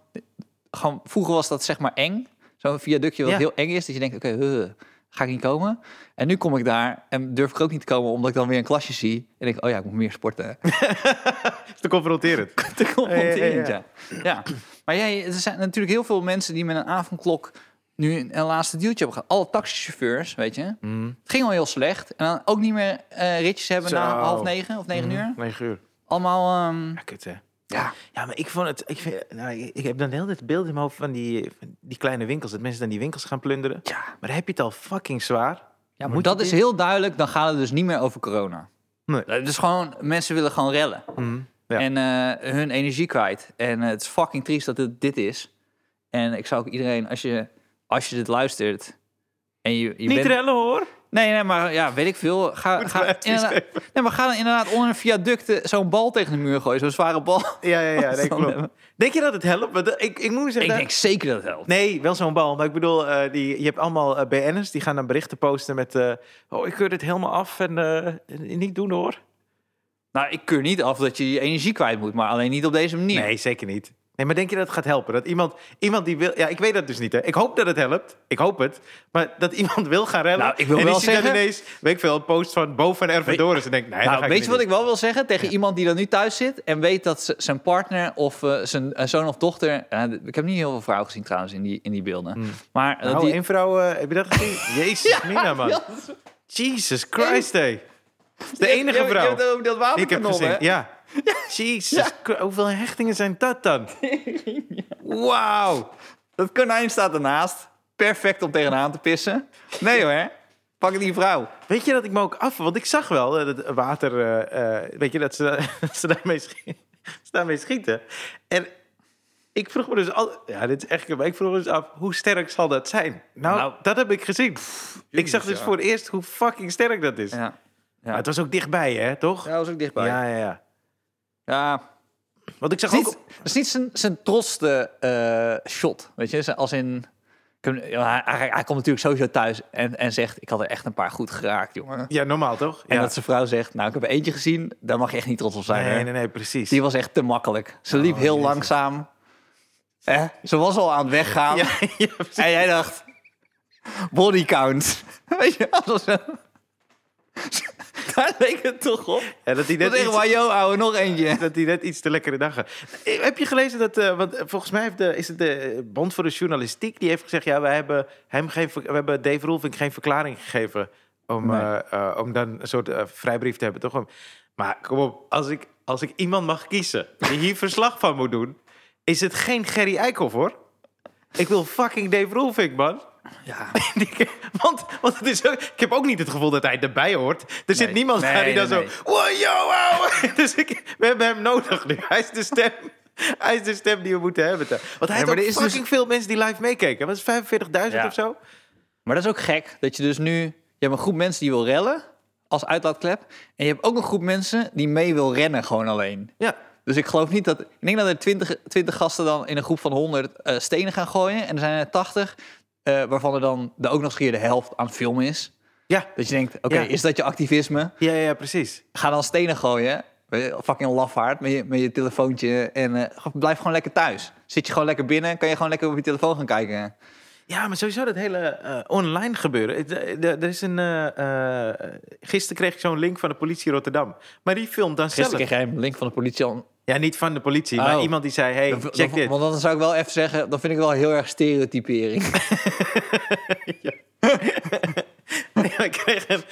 Speaker 1: gewoon, vroeger was dat zeg maar eng. Zo'n viaductje wat
Speaker 3: Ja.
Speaker 1: heel eng is. Dat je denkt, oké, huh, ga ik niet komen? En nu kom ik daar en durf ik ook niet te komen... omdat ik dan weer een klasje zie. En denk, oh (laughs) ja, ik moet meer sporten.
Speaker 3: is te (laughs) confronterend.
Speaker 1: te confronterend,
Speaker 3: Ja,
Speaker 1: ja. ja. Maar jij, er zijn natuurlijk heel veel mensen die met een avondklok nu een, een laatste deeltje hebben gehad. Alle taxichauffeurs, weet je. Het ging al heel slecht. En dan ook niet meer eh, ritjes hebben na
Speaker 3: Zo.
Speaker 1: half negen of negen uur.
Speaker 3: 9 uur.
Speaker 1: Allemaal, ehm,
Speaker 3: Ja, kut, hè.
Speaker 1: Mm-hmm. ja.
Speaker 3: Ja, maar ik vond het. Ik, vind, nou, ik, ik heb dan heel dit beeld in mijn hoofd van die, van die kleine winkels. Dat mensen dan die winkels gaan plunderen.
Speaker 1: Ja.
Speaker 3: Maar dan heb je het al fucking zwaar.
Speaker 1: Ja, maar
Speaker 3: Moet
Speaker 1: dat
Speaker 3: je
Speaker 1: is
Speaker 3: dit-
Speaker 1: heel duidelijk. Dan gaat het dus niet meer over corona.
Speaker 3: Nee. Mhm,
Speaker 1: Dat is gewoon, mensen willen gewoon rellen.
Speaker 3: Ja.
Speaker 1: En eh, hun energie kwijt. En eh, het is fucking triest dat het dit is. En ik zou ook iedereen, als je, als je dit luistert... En je, je
Speaker 3: niet
Speaker 1: bent,
Speaker 3: rellen hoor.
Speaker 1: Nee, nee, maar ja, weet ik veel. Ga,
Speaker 3: Moeten
Speaker 1: ga,
Speaker 3: wij advies
Speaker 1: inderdaad- nee, maar ga dan inderdaad onder een viaduct eh, zo'n bal tegen de muur gooien. Zo'n zware
Speaker 3: (laughs)
Speaker 1: bal.
Speaker 3: Ja, ja, ja. Nee,
Speaker 1: dan hebben?
Speaker 3: klopt. Denk je dat het helpt? Want, eh, ik, ik moet zeggen.
Speaker 1: ik denk zeker dat het helpt.
Speaker 3: Nee, wel zo'n bal. Maar ik bedoel, eh, die, je hebt allemaal eh, BN'ers die gaan dan berichten posten met... eh, oh, ik keur dit helemaal af en eh, niet doen hoor.
Speaker 1: Nou, ik keur niet af dat je je energie kwijt moet, maar alleen niet op deze manier.
Speaker 3: Nee, zeker niet. Nee, maar denk je dat het gaat helpen? Dat iemand, iemand die wil... Ja, ik weet dat dus niet. Hè. Ik hoop dat het helpt. Ik hoop het. Maar dat iemand wil gaan rellen.
Speaker 1: Nou, ik wil
Speaker 3: en die
Speaker 1: wel
Speaker 3: ziet dan
Speaker 1: zeggen-
Speaker 3: ineens, weet ik veel, een post van Bo van Erven
Speaker 1: Weet-
Speaker 3: Doris. En denkt, nee, dat
Speaker 1: nou,
Speaker 3: ga
Speaker 1: weet je wat
Speaker 3: niet
Speaker 1: ik wel wil zeggen tegen iemand die dan nu thuis zit en weet dat z- zijn partner of eh, zijn eh, zoon of dochter. eh, d- ik heb niet heel veel vrouwen gezien trouwens in die, in die beelden. Maar eh,
Speaker 3: doen.
Speaker 1: dat
Speaker 3: Nou,
Speaker 1: die,
Speaker 3: één vrouw, eh, heb je dat gezien? (laughs)
Speaker 1: (laughs)
Speaker 3: Jezus, Mina, man. Jesus Christ, hé. Dat is de enige
Speaker 1: Ja,
Speaker 3: vrouw
Speaker 1: Je hebt ook dat
Speaker 3: die ik heb
Speaker 1: waterkanon,
Speaker 3: gezien.
Speaker 1: hè?
Speaker 3: (laughs) Ja. Jezus, Christ, hoeveel hechtingen zijn dat dan? Wauw.
Speaker 1: Dat konijn staat ernaast. Perfect om tegenaan te pissen. Nee hoor, pak die vrouw.
Speaker 3: Weet je dat ik me ook af... Want ik zag wel eh, dat water... eh, eh, weet je, dat ze, (laughs) dat ze, daarmee schieten, (laughs) ze daarmee schieten. En ik vroeg me dus al... Ja, dit is echt... Maar ik vroeg me dus af, hoe sterk zal dat zijn? Nou,
Speaker 1: Nou,
Speaker 3: dat heb ik gezien. ik zag
Speaker 1: jezus,
Speaker 3: dus
Speaker 1: ja.
Speaker 3: voor het eerst hoe fucking sterk dat is.
Speaker 1: Ja,
Speaker 3: Maar het was ook dichtbij, hè, toch?
Speaker 1: dat was ook dichtbij. Ja,
Speaker 3: Ja, ja, ja. Want ik
Speaker 1: het
Speaker 3: zag
Speaker 1: is
Speaker 3: ook...
Speaker 1: niet, het is niet zijn, zijn trotste eh, shot. Weet je, als in. ik heb- ja, Hij, hij, hij komt natuurlijk sowieso thuis en, en zegt: Ik had er echt een paar goed geraakt, jongen.
Speaker 3: Ja, normaal, toch?
Speaker 1: En
Speaker 3: Ja.
Speaker 1: dat zijn vrouw zegt, nou, ik heb er eentje gezien, daar mag je echt niet trots op zijn.
Speaker 3: Nee,
Speaker 1: hè?
Speaker 3: nee, nee, precies.
Speaker 1: Die was echt te makkelijk. Ze liep
Speaker 3: Oh,
Speaker 1: heel
Speaker 3: jezus.
Speaker 1: langzaam. Hè? Ze was al aan het weggaan.
Speaker 3: (laughs) Ja, ja, precies.
Speaker 1: En jij dacht, body count. (laughs) Weet je, dat was (laughs) zo. daar leek het toch op.
Speaker 3: Ja, dat hij
Speaker 1: Dat is
Speaker 3: net
Speaker 1: echt,
Speaker 3: iets-
Speaker 1: waar, joh, ouwe, nog eentje.
Speaker 3: dat hij net iets te lekkere dagen. Eh, Heb je gelezen dat, eh, want eh, volgens mij heeft de, is het de eh, Bond voor de Journalistiek, die heeft gezegd, ja, wij hebben, hem geen, ver- we hebben Dave Roelvink geen verklaring gegeven om,
Speaker 1: Nee.
Speaker 3: eh, eh, om dan een soort eh, vrijbrief te hebben, toch? Om- Maar kom op, als ik, als ik iemand mag kiezen die hier (laughs) verslag van moet doen, is het geen Gerry Eickhoff, hoor. Ik wil fucking Dave Roelvink, man.
Speaker 1: Ja.
Speaker 3: (laughs) want, want het is ook, ik heb ook niet het gevoel dat hij erbij hoort. Er zit
Speaker 1: Nee.
Speaker 3: niemand
Speaker 1: Nee,
Speaker 3: daar die dan
Speaker 1: nee,
Speaker 3: zo... Wow, yo, wow. (laughs) dus ik, we hebben hem nodig nu. Hij is de stem... (laughs) Hij is de stem die we moeten hebben. Want hij
Speaker 1: maar
Speaker 3: had ook
Speaker 1: er is dus-
Speaker 3: fucking veel mensen die live meekeken. Was het 45.000
Speaker 1: Ja.
Speaker 3: of zo?
Speaker 1: Maar dat is ook gek, dat je dus nu... Je hebt een groep mensen die wil rellen, als uitlaatklep. En je hebt ook een groep mensen die mee wil rennen, gewoon alleen.
Speaker 3: Ja.
Speaker 1: Dus ik geloof niet dat... Ik denk dat er 20, 20 gasten dan in een groep van 100 eh, stenen gaan gooien. En er zijn er 80, eh, waarvan er dan de, ook nog eens een keer de helft aan het filmen is.
Speaker 3: Ja.
Speaker 1: Dat je denkt, oké,
Speaker 3: Ja.
Speaker 1: is dat je activisme?
Speaker 3: Ja, ja, precies.
Speaker 1: Ga dan stenen gooien. Weet je, Fucking lafaard met je, met je telefoontje. En eh, blijf gewoon lekker thuis. Zit je gewoon lekker binnen, kan je gewoon lekker op je telefoon gaan kijken.
Speaker 3: Ja, maar sowieso dat hele eh, online gebeuren. Het, eh, d- Er is een... eh, eh, gisteren kreeg ik zo'n link van de politie Rotterdam. Maar die filmt dan zelf.
Speaker 1: Gisteren kreeg jij een link van de politie al
Speaker 3: Ja, niet van de politie,
Speaker 1: Oh.
Speaker 3: maar iemand die zei... hey,
Speaker 1: Dan- dan-
Speaker 3: check dit.
Speaker 1: Want dan zou ik wel even zeggen, dan vind ik wel heel erg stereotypering. (laughs)
Speaker 3: (laughs) Nee, maar ik kreeg, een-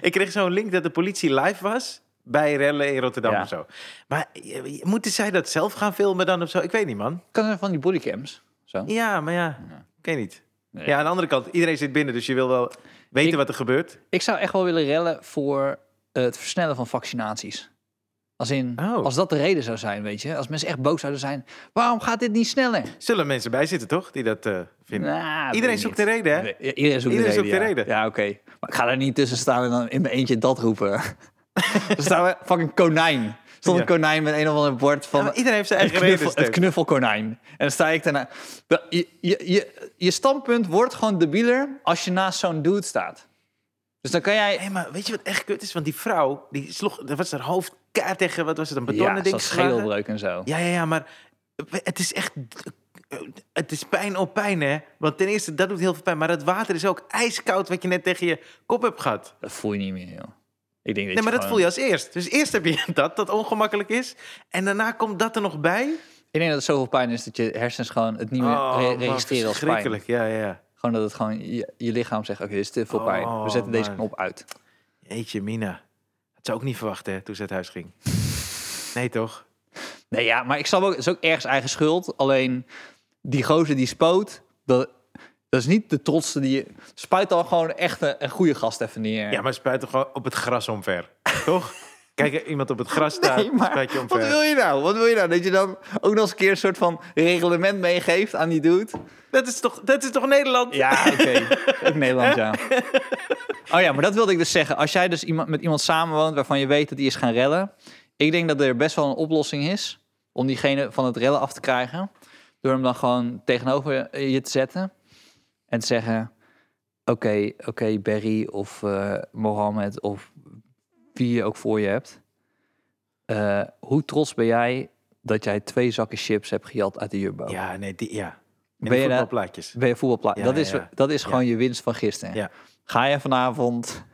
Speaker 3: ik kreeg zo'n link dat de politie live was bij rellen in Rotterdam
Speaker 1: Ja.
Speaker 3: of zo. Maar eh, moeten zij dat zelf gaan filmen dan of zo? Ik weet niet, man.
Speaker 1: kan er van die bodycams? Zo.
Speaker 3: Ja, maar ja, ik weet niet.
Speaker 1: Nee.
Speaker 3: Ja, aan de andere kant, iedereen zit binnen, dus je wil wel weten
Speaker 1: Ik-
Speaker 3: wat er gebeurt.
Speaker 1: Ik zou echt wel willen rellen voor eh, het versnellen van vaccinaties. Als in,
Speaker 3: Oh.
Speaker 1: als dat de reden zou zijn, weet je. Als mensen echt boos zouden zijn, waarom gaat dit niet sneller?
Speaker 3: Zullen mensen bij zitten, toch, die dat eh, vinden?
Speaker 1: Nah, Nou, weet
Speaker 3: iedereen
Speaker 1: ik
Speaker 3: zoekt
Speaker 1: niet.
Speaker 3: de reden, hè?
Speaker 1: I- Iedereen zoekt
Speaker 3: Iedereen
Speaker 1: de
Speaker 3: zoekt
Speaker 1: reden.
Speaker 3: de
Speaker 1: ja.
Speaker 3: reden.
Speaker 1: Ja, oké. Maar ik ga daar niet tussen staan en dan in mijn eentje dat roepen.
Speaker 3: (laughs)
Speaker 1: er staat een fucking konijn. Stond een
Speaker 3: Ja.
Speaker 1: konijn met een of ander bord van...
Speaker 3: Ja, maar iedereen heeft zijn
Speaker 1: het,
Speaker 3: eigen
Speaker 1: knuffel,
Speaker 3: reden.
Speaker 1: het
Speaker 3: Stef.
Speaker 1: knuffelkonijn. En dan sta ik daarna... Da- Je, je, je, je standpunt wordt gewoon debieler als je naast zo'n dude staat. Dus dan kan jij...
Speaker 3: Hé, maar weet je wat echt kut is? Want die vrouw, die sloeg, dat was haar hoofd keihard tegen, wat was het, een betonnen
Speaker 1: Ja,
Speaker 3: ding
Speaker 1: zo'n
Speaker 3: geslagen?
Speaker 1: schedelbreuk en zo.
Speaker 3: Ja, ja, ja, maar het is echt. Het is pijn op pijn, hè? Want ten eerste, dat doet heel veel pijn. Maar dat water is ook ijskoud wat je net tegen je kop hebt gehad.
Speaker 1: Dat voel je niet meer, joh. Ik denk dat
Speaker 3: Nee, maar dat voel je als eerst. Dus eerst heb je (laughs) dat, dat ongemakkelijk is. En daarna komt dat er nog bij.
Speaker 1: Ik denk dat het zoveel pijn is dat je hersens gewoon het niet meer re-
Speaker 3: man,
Speaker 1: registreren als pijn.
Speaker 3: verschrikkelijk. Ja, ja.
Speaker 1: Gewoon dat het gewoon je, je lichaam zegt: Oké, dit is te veel
Speaker 3: Oh,
Speaker 1: pijn. We zetten deze
Speaker 3: man.
Speaker 1: knop uit.
Speaker 3: Eetje, Mina. Dat zou ik ook niet verwachten, hè, toen ze het huis ging. Nee, toch?
Speaker 1: Nee, ja, maar ik snap ook, het is ook ergens eigen schuld. Alleen die gozer die spoot, dat, dat is niet de trotste die je. Spuit dan gewoon echt een, een goede gast even neer.
Speaker 3: Ja, maar spuit toch gewoon op het gras omver. (laughs) toch? Kijk, iemand op het gras (laughs) staat,
Speaker 1: Nee, maar
Speaker 3: spuit je
Speaker 1: wat
Speaker 3: omver.
Speaker 1: wil je nou? Wat wil je nou? Dat je dan ook nog eens een keer een soort van reglement meegeeft aan die dude?
Speaker 3: Dat, is toch, dat is toch Nederland?
Speaker 1: Ja, oké. (laughs) Ook Nederland, ja. Oh ja, maar dat wilde ik dus zeggen. Als jij dus iemand, met iemand samenwoont waarvan je weet dat die is gaan rellen. Ik denk dat er best wel een oplossing is om diegene van het rellen af te krijgen. Door hem dan gewoon tegenover je te zetten. En te zeggen, oké, oké Barry of eh, Mohammed of wie je ook voor je hebt. eh, hoe trots ben jij dat jij twee zakken chips hebt gejat uit de Jumbo?
Speaker 3: Ja, nee, die, ja. En
Speaker 1: Oh. Ben je
Speaker 3: ben
Speaker 1: daar-
Speaker 3: je voetbalplaatjes.
Speaker 1: Ben je voetbalplaat?
Speaker 3: Ja,
Speaker 1: dat,
Speaker 3: ja,
Speaker 1: is,
Speaker 3: ja.
Speaker 1: dat is gewoon je winst van gisteren.
Speaker 3: Ja.
Speaker 1: Ga je vanavond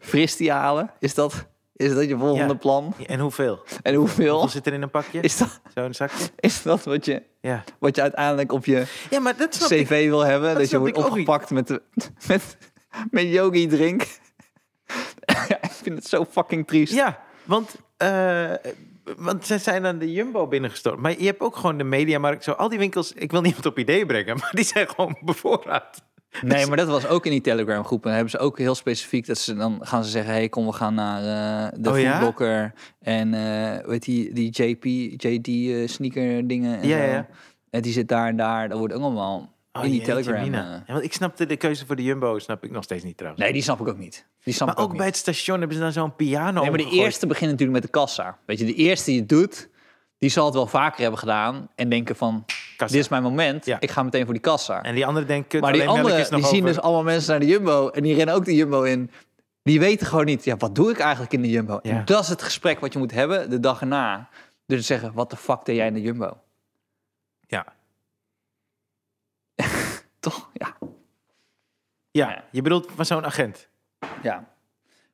Speaker 1: fristie halen? Is dat, is dat je volgende
Speaker 3: Ja.
Speaker 1: plan?
Speaker 3: En hoeveel?
Speaker 1: En hoeveel?
Speaker 3: Hoeveel zit er in een pakje?
Speaker 1: Is dat,
Speaker 3: Zo'n zakje?
Speaker 1: is dat wat, je,
Speaker 3: Ja.
Speaker 1: wat je uiteindelijk op je
Speaker 3: Ja, maar dat snap ik.
Speaker 1: cv wil hebben? Dat, je
Speaker 3: snap
Speaker 1: wordt
Speaker 3: ik ook niet.
Speaker 1: opgepakt met, de- met, met yogi drink? (laughs) ik vind het zo fucking triest.
Speaker 3: Ja, want, eh, want ze zijn aan de Jumbo binnengestort. Maar je hebt ook gewoon de mediamarkt. Zo, al die winkels, ik wil niemand op idee brengen, (laughs) maar die zijn gewoon bevoorraad.
Speaker 1: Nee, maar dat was ook in die Telegram groep. En dan hebben ze ook heel specifiek dat ze dan gaan ze zeggen: hey, kom, we gaan naar eh, de
Speaker 3: Oh ja?
Speaker 1: voetblokker. En eh weet die, die JP, JD eh, sneaker dingen. En
Speaker 3: Ja,
Speaker 1: zo.
Speaker 3: ja. Oh,
Speaker 1: En die zit daar en daar. Dat wordt ook allemaal in die
Speaker 3: jeetje,
Speaker 1: Telegram.
Speaker 3: Mina.
Speaker 1: eh.
Speaker 3: Ja, want ik snapte de keuze voor de Jumbo, snap ik nog steeds niet trouwens.
Speaker 1: nee, die snap ik ook niet. Die snap
Speaker 3: maar
Speaker 1: ik ook,
Speaker 3: ook
Speaker 1: niet.
Speaker 3: bij het station hebben ze dan zo'n piano
Speaker 1: Nee, maar de
Speaker 3: omgegooid.
Speaker 1: eerste begint natuurlijk met de kassa. Weet je, de eerste die het doet, die zal het wel vaker hebben gedaan. En denken: van,
Speaker 3: Kassa.
Speaker 1: dit is mijn moment.
Speaker 3: Ja.
Speaker 1: Ik ga meteen voor die kassa.
Speaker 3: En die andere denkt, kut,
Speaker 1: dus- Maar die
Speaker 3: alleen melk
Speaker 1: anderen
Speaker 3: is nog
Speaker 1: die zien
Speaker 3: over.
Speaker 1: dus allemaal mensen naar de Jumbo en die rennen ook de Jumbo in. Die weten gewoon niet, ja, wat doe ik eigenlijk in de Jumbo?
Speaker 3: Ja.
Speaker 1: En dat is het gesprek wat je moet hebben de dag erna. Dus zeggen, wat de fuck deed jij in de Jumbo?
Speaker 3: Ja.
Speaker 1: Toch? Ja.
Speaker 3: ja, je bedoelt van zo'n agent.
Speaker 1: ja.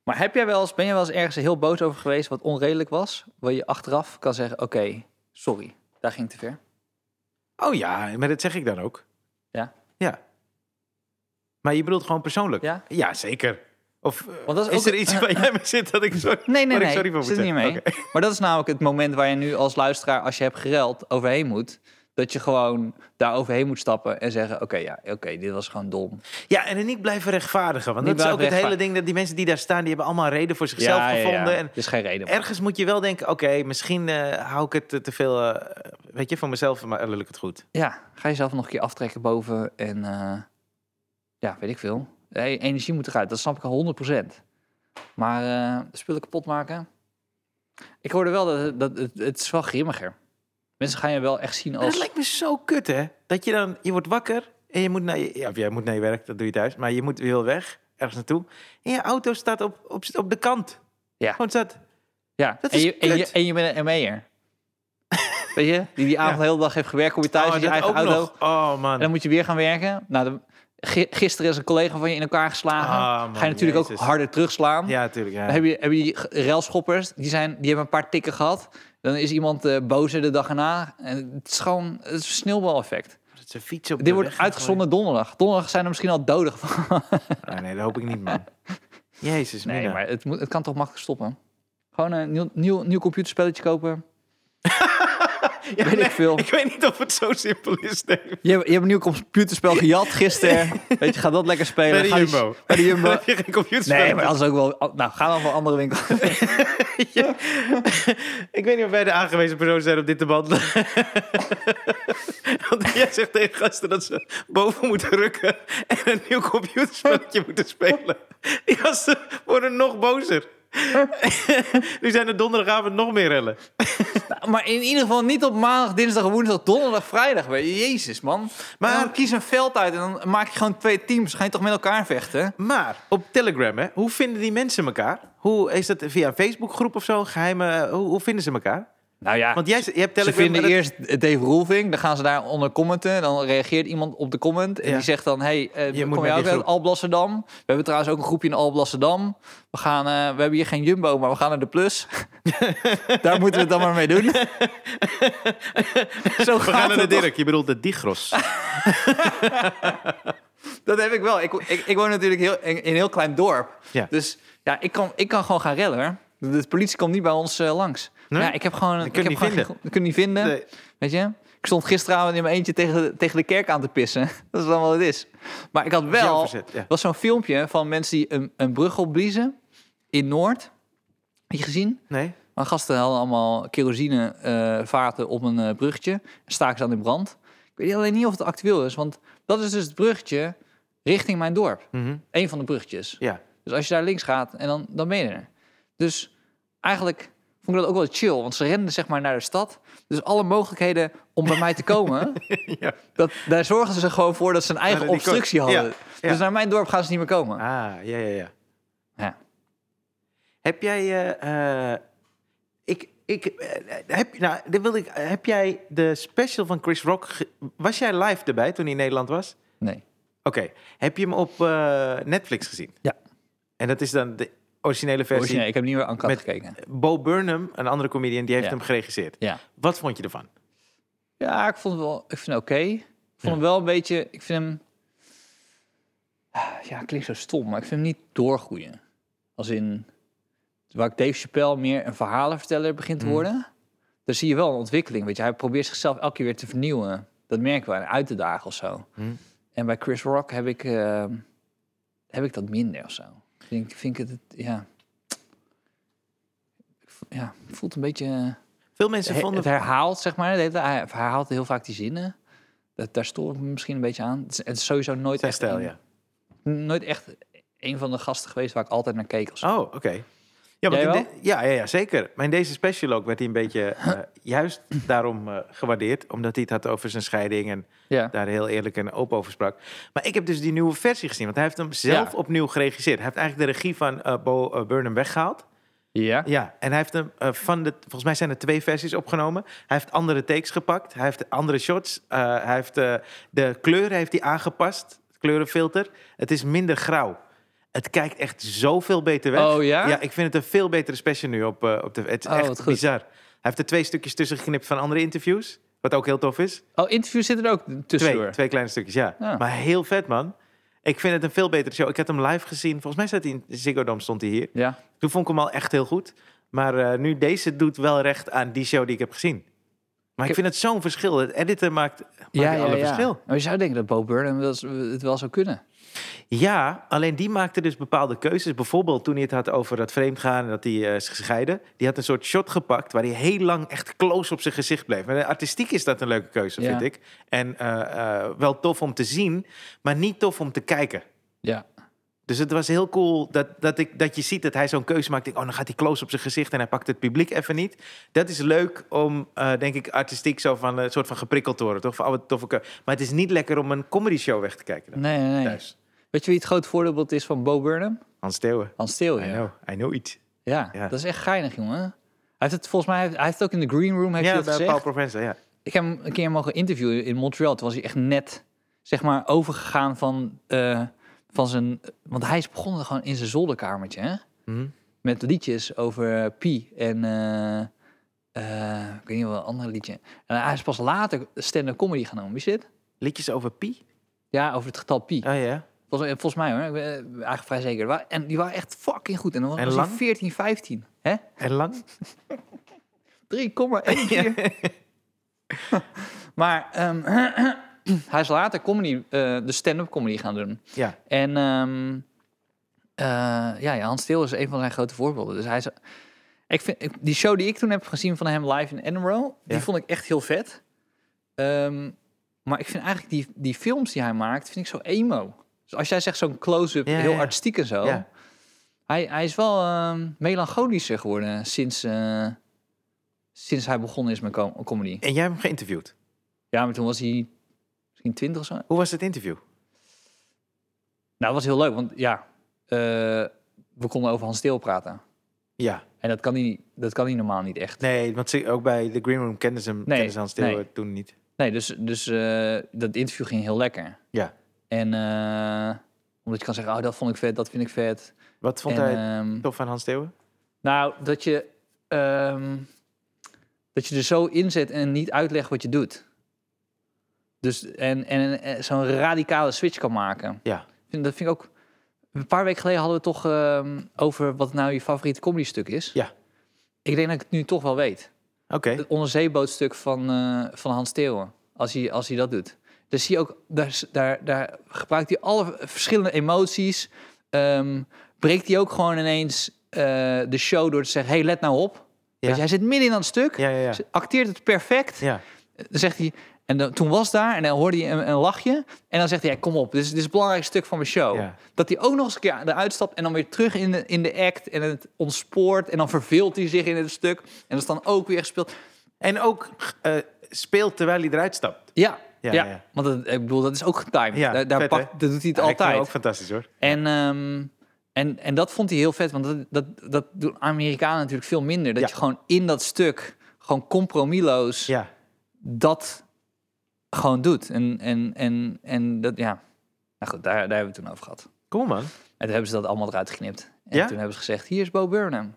Speaker 1: Maar heb jij wel eens, ben je wel eens ergens heel boos over geweest wat onredelijk was? Waar je achteraf kan zeggen, oké, sorry, daar ging ik te ver.
Speaker 3: Oh ja, maar dat zeg ik dan ook.
Speaker 1: Ja.
Speaker 3: Ja. Maar je bedoelt gewoon persoonlijk?
Speaker 1: Ja?
Speaker 3: zeker. Of eh,
Speaker 1: Want dat is
Speaker 3: is,
Speaker 1: ook-
Speaker 3: er iets waar jij mee zit dat ik sorry,
Speaker 1: Nee, nee,
Speaker 3: waar
Speaker 1: nee.
Speaker 3: ik sorry voor
Speaker 1: zit (laughs)
Speaker 3: moet
Speaker 1: niet
Speaker 3: zeggen?
Speaker 1: mee. Maar dat is namelijk het moment waar je nu als luisteraar, als je hebt gereld, overheen moet. Dat je gewoon daar overheen moet stappen en zeggen... oké, ja, oké, dit was gewoon dom.
Speaker 3: Ja, en het niet blijven rechtvaardigen. Want
Speaker 1: Niet
Speaker 3: dat is ook
Speaker 1: blijven
Speaker 3: het hele
Speaker 1: rechtvaar-
Speaker 3: ding dat die mensen die daar staan, die hebben allemaal een reden voor zichzelf
Speaker 1: ja, ja,
Speaker 3: gevonden.
Speaker 1: Ja,
Speaker 3: En
Speaker 1: Er is geen reden.
Speaker 3: ergens moet je wel denken, oké, misschien eh, hou ik het eh, te veel, eh, weet je, van mezelf, maar eh, lukt het goed.
Speaker 1: Ja, ga jezelf nog een keer aftrekken boven en eh, ja, weet ik veel. De e- energie moet eruit, dat snap ik al 100%. Maar eh, spullen kapot maken. Ik hoorde wel dat, het- dat het, het is wel grimmiger. Mensen gaan je wel echt zien
Speaker 3: Maar Dat
Speaker 1: als.
Speaker 3: lijkt me zo kut, hè? Dat je dan, je wordt wakker en je moet naar je, ja, of jij moet naar je werk, dat doe je thuis, maar je moet wil weg, ergens naartoe. En je auto staat op, op, op de kant.
Speaker 1: Ja.
Speaker 3: Gewoon staat,
Speaker 1: Ja,
Speaker 3: dat
Speaker 1: en,
Speaker 3: is
Speaker 1: je, en, je,
Speaker 3: kut.
Speaker 1: en je bent een
Speaker 3: (laughs)
Speaker 1: ME'er. weet je, die die avond de hele dag heeft gewerkt, kom je thuis
Speaker 3: oh,
Speaker 1: in je
Speaker 3: dat
Speaker 1: eigen
Speaker 3: ook
Speaker 1: auto.
Speaker 3: nog. Oh man.
Speaker 1: En dan moet je weer gaan werken. Nou, dan- gi- gisteren is een collega van je in elkaar geslagen.
Speaker 3: Ah, man,
Speaker 1: Ga je natuurlijk
Speaker 3: Jezus.
Speaker 1: ook harder terugslaan.
Speaker 3: Ja, natuurlijk. Ja.
Speaker 1: Dan heb je, heb je die g- railschoppers, die, zijn, die hebben een paar tikken gehad. Dan is iemand eh bozer de dag erna. En het is gewoon het is een sneeuwbaleffect.
Speaker 3: Dat ze fietsen op
Speaker 1: Dit
Speaker 3: de
Speaker 1: wordt
Speaker 3: weg gegooid.
Speaker 1: uitgezonden donderdag. Donderdag zijn er misschien al doden gevallen.
Speaker 3: Ah, nee, dat hoop ik niet,
Speaker 1: (laughs)
Speaker 3: man. Jezus,
Speaker 1: Nee,
Speaker 3: Mina.
Speaker 1: maar het, moet, het kan toch makkelijk stoppen? Gewoon een nieuw, nieuw, nieuw computerspelletje kopen.
Speaker 3: (laughs) Ja,
Speaker 1: weet ik veel.
Speaker 3: Ik weet niet of het zo simpel is, Dave.
Speaker 1: Je, hebt- je hebt een nieuw computerspel gejat (laughs) gisteren. Weet je, ga dat lekker spelen.
Speaker 3: Bij de
Speaker 1: Ga die-
Speaker 3: Jumbo.
Speaker 1: Bij de Jumbo.
Speaker 3: (laughs) Heb je geen
Speaker 1: (laughs)
Speaker 3: computerspel?
Speaker 1: Nee, maar dat is ook wel... Nou, ga dan voor andere winkels.
Speaker 3: (laughs) Ik weet niet of wij de aangewezen persoon zijn op dit debat. (laughs) Want jij zegt tegen gasten dat ze boven moeten rukken en een nieuw (laughs) computerspelletje moeten spelen. Die gasten worden nog bozer. (laughs) nu zijn er donderdagavond nog meer rellen.
Speaker 1: Maar in ieder geval niet op maandag, dinsdag, woensdag, donderdag, vrijdag. weet je. Jezus, man.
Speaker 3: Maar-
Speaker 1: Maar dan kies een veld uit en dan maak je gewoon twee teams. Ga je toch met elkaar vechten?
Speaker 3: Maar op Telegram, hè, hoe vinden die mensen elkaar? Hoe, is dat via een Facebookgroep of zo? Geheime, eh, hoe, hoe vinden ze elkaar?
Speaker 1: Nou ja,
Speaker 3: Want jij, je hebt
Speaker 1: ze
Speaker 3: Telegram.
Speaker 1: vinden
Speaker 3: maar dat-
Speaker 1: eerst Dave Roelving. Dan gaan ze daar onder commenten. Dan reageert iemand op de comment. En
Speaker 3: Ja.
Speaker 1: die zegt dan, hey, eh,
Speaker 3: Je moet
Speaker 1: kom
Speaker 3: met
Speaker 1: jij ook
Speaker 3: die
Speaker 1: uit
Speaker 3: groep.
Speaker 1: Alblasserdam? We hebben trouwens ook een groepje in Alblasserdam. We, gaan, eh, we hebben hier geen Jumbo, maar we gaan naar de
Speaker 3: (laughs)
Speaker 1: Plus. daar moeten we het dan maar mee doen. Zo
Speaker 3: We gaan
Speaker 1: gaat
Speaker 3: naar de
Speaker 1: het toch?
Speaker 3: Dirk, je bedoelt de Digros.
Speaker 1: Dat heb ik wel. Ik, ik, ik woon natuurlijk heel, in in een heel klein dorp.
Speaker 3: Ja.
Speaker 1: Dus ja, ik kan, ik kan gewoon gaan rellen. hoor. De, de politie komt niet bij ons eh, langs.
Speaker 3: Nee?
Speaker 1: Ja, ik heb gewoon...
Speaker 3: Die
Speaker 1: Ik
Speaker 3: kunnen
Speaker 1: heb
Speaker 3: niet
Speaker 1: gewoon
Speaker 3: vinden.
Speaker 1: geen- die kunnen niet vinden.
Speaker 3: Nee.
Speaker 1: Weet je? Ik stond gisteravond in mijn eentje tegen, de- tegen de kerk aan te pissen. (laughs) Dat is dan wat het is. Maar ik had
Speaker 3: Jouw
Speaker 1: wel...
Speaker 3: verzet, ja.
Speaker 1: was zo'n filmpje van mensen die een, een brug opbliezen in Noord. Heb je gezien?
Speaker 3: Nee?
Speaker 1: Maar gasten hadden allemaal kerosinevaten vaten op een eh, bruggetje. Staken ze aan in brand. Ik weet alleen niet of het actueel is, want dat is dus het bruggetje richting mijn dorp.
Speaker 3: Mhm.
Speaker 1: Eén van de bruggetjes.
Speaker 3: Ja.
Speaker 1: Dus als je daar links gaat, en dan, dan ben je er. Dus eigenlijk vond ik dat ook wel chill, want ze renden zeg maar naar de stad. Dus alle mogelijkheden om bij mij te komen,
Speaker 3: (laughs) ja.
Speaker 1: dat, daar zorgen ze gewoon voor dat ze een eigen
Speaker 3: dat die
Speaker 1: obstructie
Speaker 3: kon- ja,
Speaker 1: hadden.
Speaker 3: ja.
Speaker 1: Dus naar mijn dorp gaan ze niet meer komen.
Speaker 3: Ah, ja, ja, ja.
Speaker 1: Ja.
Speaker 3: Heb jij. eh, eh, ik. ik eh, heb, nou, dat wilde ik, heb jij de special van Chris Rock. ge- was jij live erbij toen hij in Nederland was?
Speaker 1: Nee.
Speaker 3: Oké. Heb je hem op eh, Netflix gezien?
Speaker 1: Ja.
Speaker 3: En dat is dan de originele versie.
Speaker 1: Origineel, ik heb niet meer aan
Speaker 3: Met-
Speaker 1: gekeken.
Speaker 3: Bo Burnham, een andere comedian, die heeft
Speaker 1: Ja.
Speaker 3: hem geregisseerd.
Speaker 1: Ja.
Speaker 3: Wat vond je ervan?
Speaker 1: Ja, ik vond het wel. Ik vind het oké. Ik vond hem wel een beetje. Ik vind hem. ah, Ja, het klinkt zo stom, maar ik vind hem niet doorgroeien. Als in. Waar ik Dave Chappelle meer een verhalenverteller begint te worden. Daar zie je wel een ontwikkeling. Weet je, hij probeert zichzelf elke keer weer te vernieuwen. Dat merken we en uit te dagen of zo.
Speaker 3: Mm.
Speaker 1: En bij Chris Rock heb ik. eh, heb ik dat minder of zo. Ik Vind, vind ik het. Ja. Ik vo- Ja, het voelt een beetje.
Speaker 3: Veel mensen
Speaker 1: He-
Speaker 3: vonden.
Speaker 1: Het herhaalt, zeg maar. de hele tijd- Hij herhaalt heel vaak die zinnen. Dat, daar stoor ik me misschien een beetje aan. Het is, het is sowieso nooit
Speaker 3: zijn
Speaker 1: echt,
Speaker 3: stijl,
Speaker 1: een,
Speaker 3: ja.
Speaker 1: nooit echt een van de gasten geweest waar ik altijd naar keek. Als...
Speaker 3: Oh, oké. Ja,
Speaker 1: Jij
Speaker 3: want in
Speaker 1: wel?
Speaker 3: de- ja, ja, ja, zeker. Maar in deze special ook werd hij een beetje eh, juist daarom eh, gewaardeerd. Omdat hij het had over zijn scheiding en
Speaker 1: ja.
Speaker 3: daar heel eerlijk en open over sprak. Maar ik heb dus die nieuwe versie gezien. Want hij heeft hem zelf
Speaker 1: Ja.
Speaker 3: opnieuw geregisseerd. Hij heeft eigenlijk de regie van eh, Bo eh, Burnham weggehaald.
Speaker 1: ja.
Speaker 3: Ja, en hij heeft hem eh, van de. Volgens mij zijn er twee versies opgenomen. Hij heeft andere takes gepakt. Hij heeft andere shots. eh, hij heeft eh, de kleuren heeft hij aangepast. Het kleurenfilter. Het is minder grauw. Het kijkt echt zoveel beter weg.
Speaker 1: Oh, ja?
Speaker 3: Ja, ik vind het een veel betere special nu op, eh, op de. Het is
Speaker 1: Oh, wat
Speaker 3: echt
Speaker 1: goed.
Speaker 3: bizar. Hij heeft er twee stukjes tussen geknipt van andere interviews. Wat ook heel tof is.
Speaker 1: Oh, interviews zitten er ook tussen.
Speaker 3: Twee, twee kleine stukjes, ja.
Speaker 1: Ja.
Speaker 3: Maar heel vet, man. Ik vind het een veel betere show. Ik had hem live gezien. Volgens mij zat hij in Ziggo Dome, stond hij hier.
Speaker 1: Ja.
Speaker 3: Toen vond ik hem al echt heel goed. Maar eh, nu, deze doet wel recht aan die show die ik heb gezien. Maar ik vind het zo'n verschil. Het editen maakt, maakt alle verschil.
Speaker 1: Maar je zou denken dat Bo Burnham wel eens- het wel zou kunnen.
Speaker 3: Ja, alleen die maakte dus bepaalde keuzes. Bijvoorbeeld toen hij het had over dat vreemdgaan en dat hij eh, zich scheidde. Die had een soort shot gepakt waar hij heel lang echt close op zijn gezicht bleef. En eh, artistiek is dat een leuke keuze,
Speaker 1: Ja.
Speaker 3: vind ik. En eh, eh, wel tof om te zien, maar niet tof om te kijken.
Speaker 1: Ja.
Speaker 3: Dus het was heel cool dat, dat, ik, dat je ziet dat hij zo'n keuze maakt. Ik Denk, oh, dan gaat hij close op zijn gezicht en hij pakt het publiek even niet. Dat is leuk om, eh, denk ik, artistiek zo van eh, een soort van geprikkeld te worden. Toch? Van, oh, wat toffe keu- Maar het is niet lekker om een comedy show weg te kijken. Dan.
Speaker 1: Nee, nee, nee.
Speaker 3: Thuis.
Speaker 1: Weet je wie het groot voorbeeld is van Bo Burnham?
Speaker 3: Hans Steeuwen.
Speaker 1: Hans Steeuw,
Speaker 3: I
Speaker 1: ja.
Speaker 3: know, I know it.
Speaker 1: ja.
Speaker 3: Ja.
Speaker 1: Dat is echt geinig, jongen. Hij heeft het volgens mij, hij heeft het ook in de green room heeft
Speaker 3: Ja,
Speaker 1: hij
Speaker 3: bij
Speaker 1: het gezegd.
Speaker 3: Paul Provenza, ja.
Speaker 1: Ik heb hem een keer mogen interviewen in Montreal. Toen was hij echt net, zeg maar, overgegaan van, eh, van zijn... Want hij is begonnen gewoon in zijn zolderkamertje, hè?
Speaker 3: Mhm.
Speaker 1: Met liedjes over eh, Pi en... eh, eh, ik weet niet wel een ander liedje. En hij is pas later stand-up comedy gaan doen. Wist je dit?
Speaker 3: Liedjes over Pi?
Speaker 1: Ja, over het getal Pi.
Speaker 3: Oh ja.
Speaker 1: Volgens, eh, volgens mij hoor, ik ben eh, eigenlijk vrij zeker. Wa- En die waren echt fucking goed. En dan was
Speaker 3: En
Speaker 1: was
Speaker 3: lang?
Speaker 1: hij 14, 15. Hè? 3,14.
Speaker 3: En lang?
Speaker 1: Maar ehm, (clears throat) hij is later comedy, eh, de stand-up comedy gaan doen.
Speaker 3: Ja.
Speaker 1: En ehm, eh, ja, ja, Hans Steele is een van zijn grote voorbeelden. Dus hij is, ik vind, ik- die show die ik toen heb gezien van hem live in Edinburgh,
Speaker 3: Ja.
Speaker 1: die vond ik echt heel vet. Ehm, maar ik vind eigenlijk die, die films die hij maakt, vind ik zo emo. Dus als jij zegt zo'n close-up,
Speaker 3: Ja,
Speaker 1: heel
Speaker 3: ja.
Speaker 1: artistiek en zo.
Speaker 3: Ja.
Speaker 1: Hij, hij is wel ehm, melancholischer geworden sinds, eh, sinds hij begonnen is met com- comedy.
Speaker 3: En jij hebt hem geïnterviewd.
Speaker 1: Ja, maar toen was hij misschien twintig of zo.
Speaker 3: Hoe was het interview?
Speaker 1: Nou, dat was heel leuk, want ja, eh, we konden over Hans Steel praten.
Speaker 3: Ja.
Speaker 1: En dat kan hij, dat kan hij normaal niet echt.
Speaker 3: Nee, want ze- ook bij The Green Room kenden ze hem, kenden ze Hans Steeuwen
Speaker 1: nee.
Speaker 3: toen niet.
Speaker 1: Nee, dus, dus eh, dat interview ging heel lekker.
Speaker 3: Ja.
Speaker 1: En eh, omdat je kan zeggen, oh, dat vond ik vet, dat vind ik vet.
Speaker 3: Wat vond
Speaker 1: en,
Speaker 3: hij
Speaker 1: ehm,
Speaker 3: tof van Hans Steeuwen?
Speaker 1: nou, dat je, ehm, dat je er zo inzet en niet uitlegt wat je doet. Dus, en, en, en zo'n radicale switch kan maken.
Speaker 3: Ja.
Speaker 1: Ik vind- Dat vind ik ook. Een paar weken geleden hadden we het toch ehm, over wat nou je favoriete comedy stuk is.
Speaker 3: Ja.
Speaker 1: Ik denk dat ik het nu toch wel weet.
Speaker 3: Oké.
Speaker 1: Het onderzeebootstuk van, eh, van Hans Theeuwen. Als hij, als hij dat doet. Dus zie je ook, daar, is- daar, daar gebruikt hij alle verschillende emoties. Ehm, breekt hij ook gewoon ineens eh, de show door te zeggen: hey, let nou op. Weet je, hij zit midden in aan het stuk.
Speaker 3: Ja, ja, ja.
Speaker 1: Acteert het perfect.
Speaker 3: Ja.
Speaker 1: Dan zegt hij, en dan, toen was daar, en dan hoorde hij een, een lachje. En dan zegt hij, ja, kom op, dit is, dit is het belangrijkste stuk van mijn show.
Speaker 3: Ja.
Speaker 1: Dat hij ook nog eens een keer eruit stapt en dan weer terug in de, in de act. En het ontspoort en dan verveelt hij zich in het stuk. En dat is dan ook weer gespeeld.
Speaker 3: En ook eh, speelt terwijl hij eruit stapt.
Speaker 1: Ja,
Speaker 3: Ja,
Speaker 1: ja,
Speaker 3: ja.
Speaker 1: want dat, ik bedoel, dat is ook getimed.
Speaker 3: Ja,
Speaker 1: daar daar
Speaker 3: vet,
Speaker 1: pakt-
Speaker 3: hè?
Speaker 1: dat doet hij het
Speaker 3: Ja, ik vind hem
Speaker 1: altijd.
Speaker 3: ook fantastisch hoor.
Speaker 1: En, ehm, en, en dat vond hij heel vet, want dat, dat, dat doen Amerikanen natuurlijk veel minder. Dat
Speaker 3: Ja.
Speaker 1: je gewoon in dat stuk, gewoon compromisloos...
Speaker 3: Ja.
Speaker 1: dat gewoon doet. En, en, en, en dat, ja. Nou goed, daar, daar hebben we het toen over gehad.
Speaker 3: Cool man.
Speaker 1: En toen hebben ze dat allemaal eruit geknipt. En
Speaker 3: Ja?
Speaker 1: toen hebben ze gezegd, hier is Bo
Speaker 3: (laughs)
Speaker 1: Burnham.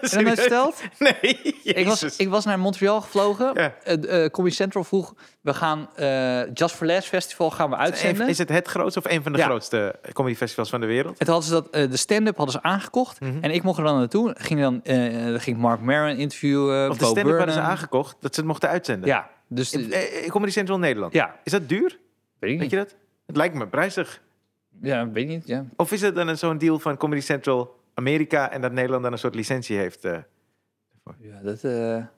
Speaker 1: en dan verteld.
Speaker 3: (laughs) Nee.
Speaker 1: Ik was, ik was naar Montreal gevlogen.
Speaker 3: Ja.
Speaker 1: Eh, eh, Comedy Central vroeg, we gaan eh, Just for Less Festival gaan we uitzenden.
Speaker 3: Is het het grootste of een van de
Speaker 1: Ja.
Speaker 3: grootste comedyfestivals van de wereld?
Speaker 1: En toen hadden ze dat, eh, de stand-up hadden ze aangekocht.
Speaker 3: Mhm.
Speaker 1: En ik mocht er dan naartoe. Ging dan, eh, dan ging Mark Maron interviewen,
Speaker 3: Of de
Speaker 1: Bo
Speaker 3: stand-up hadden ze
Speaker 1: Burnham.
Speaker 3: aangekocht dat ze het mochten uitzenden?
Speaker 1: Ja, dus eh,
Speaker 3: Eh, eh, Comedy Central Nederland.
Speaker 1: Ja.
Speaker 3: Is dat duur?
Speaker 1: weet ik
Speaker 3: Weet
Speaker 1: niet.
Speaker 3: je dat? Het lijkt me prijzig.
Speaker 1: Ja, weet ik niet. Ja.
Speaker 3: Of is het dan een- zo'n deal van Comedy Central Amerika en dat Nederland dan een soort licentie heeft? eh?
Speaker 1: Ja, dat, eh,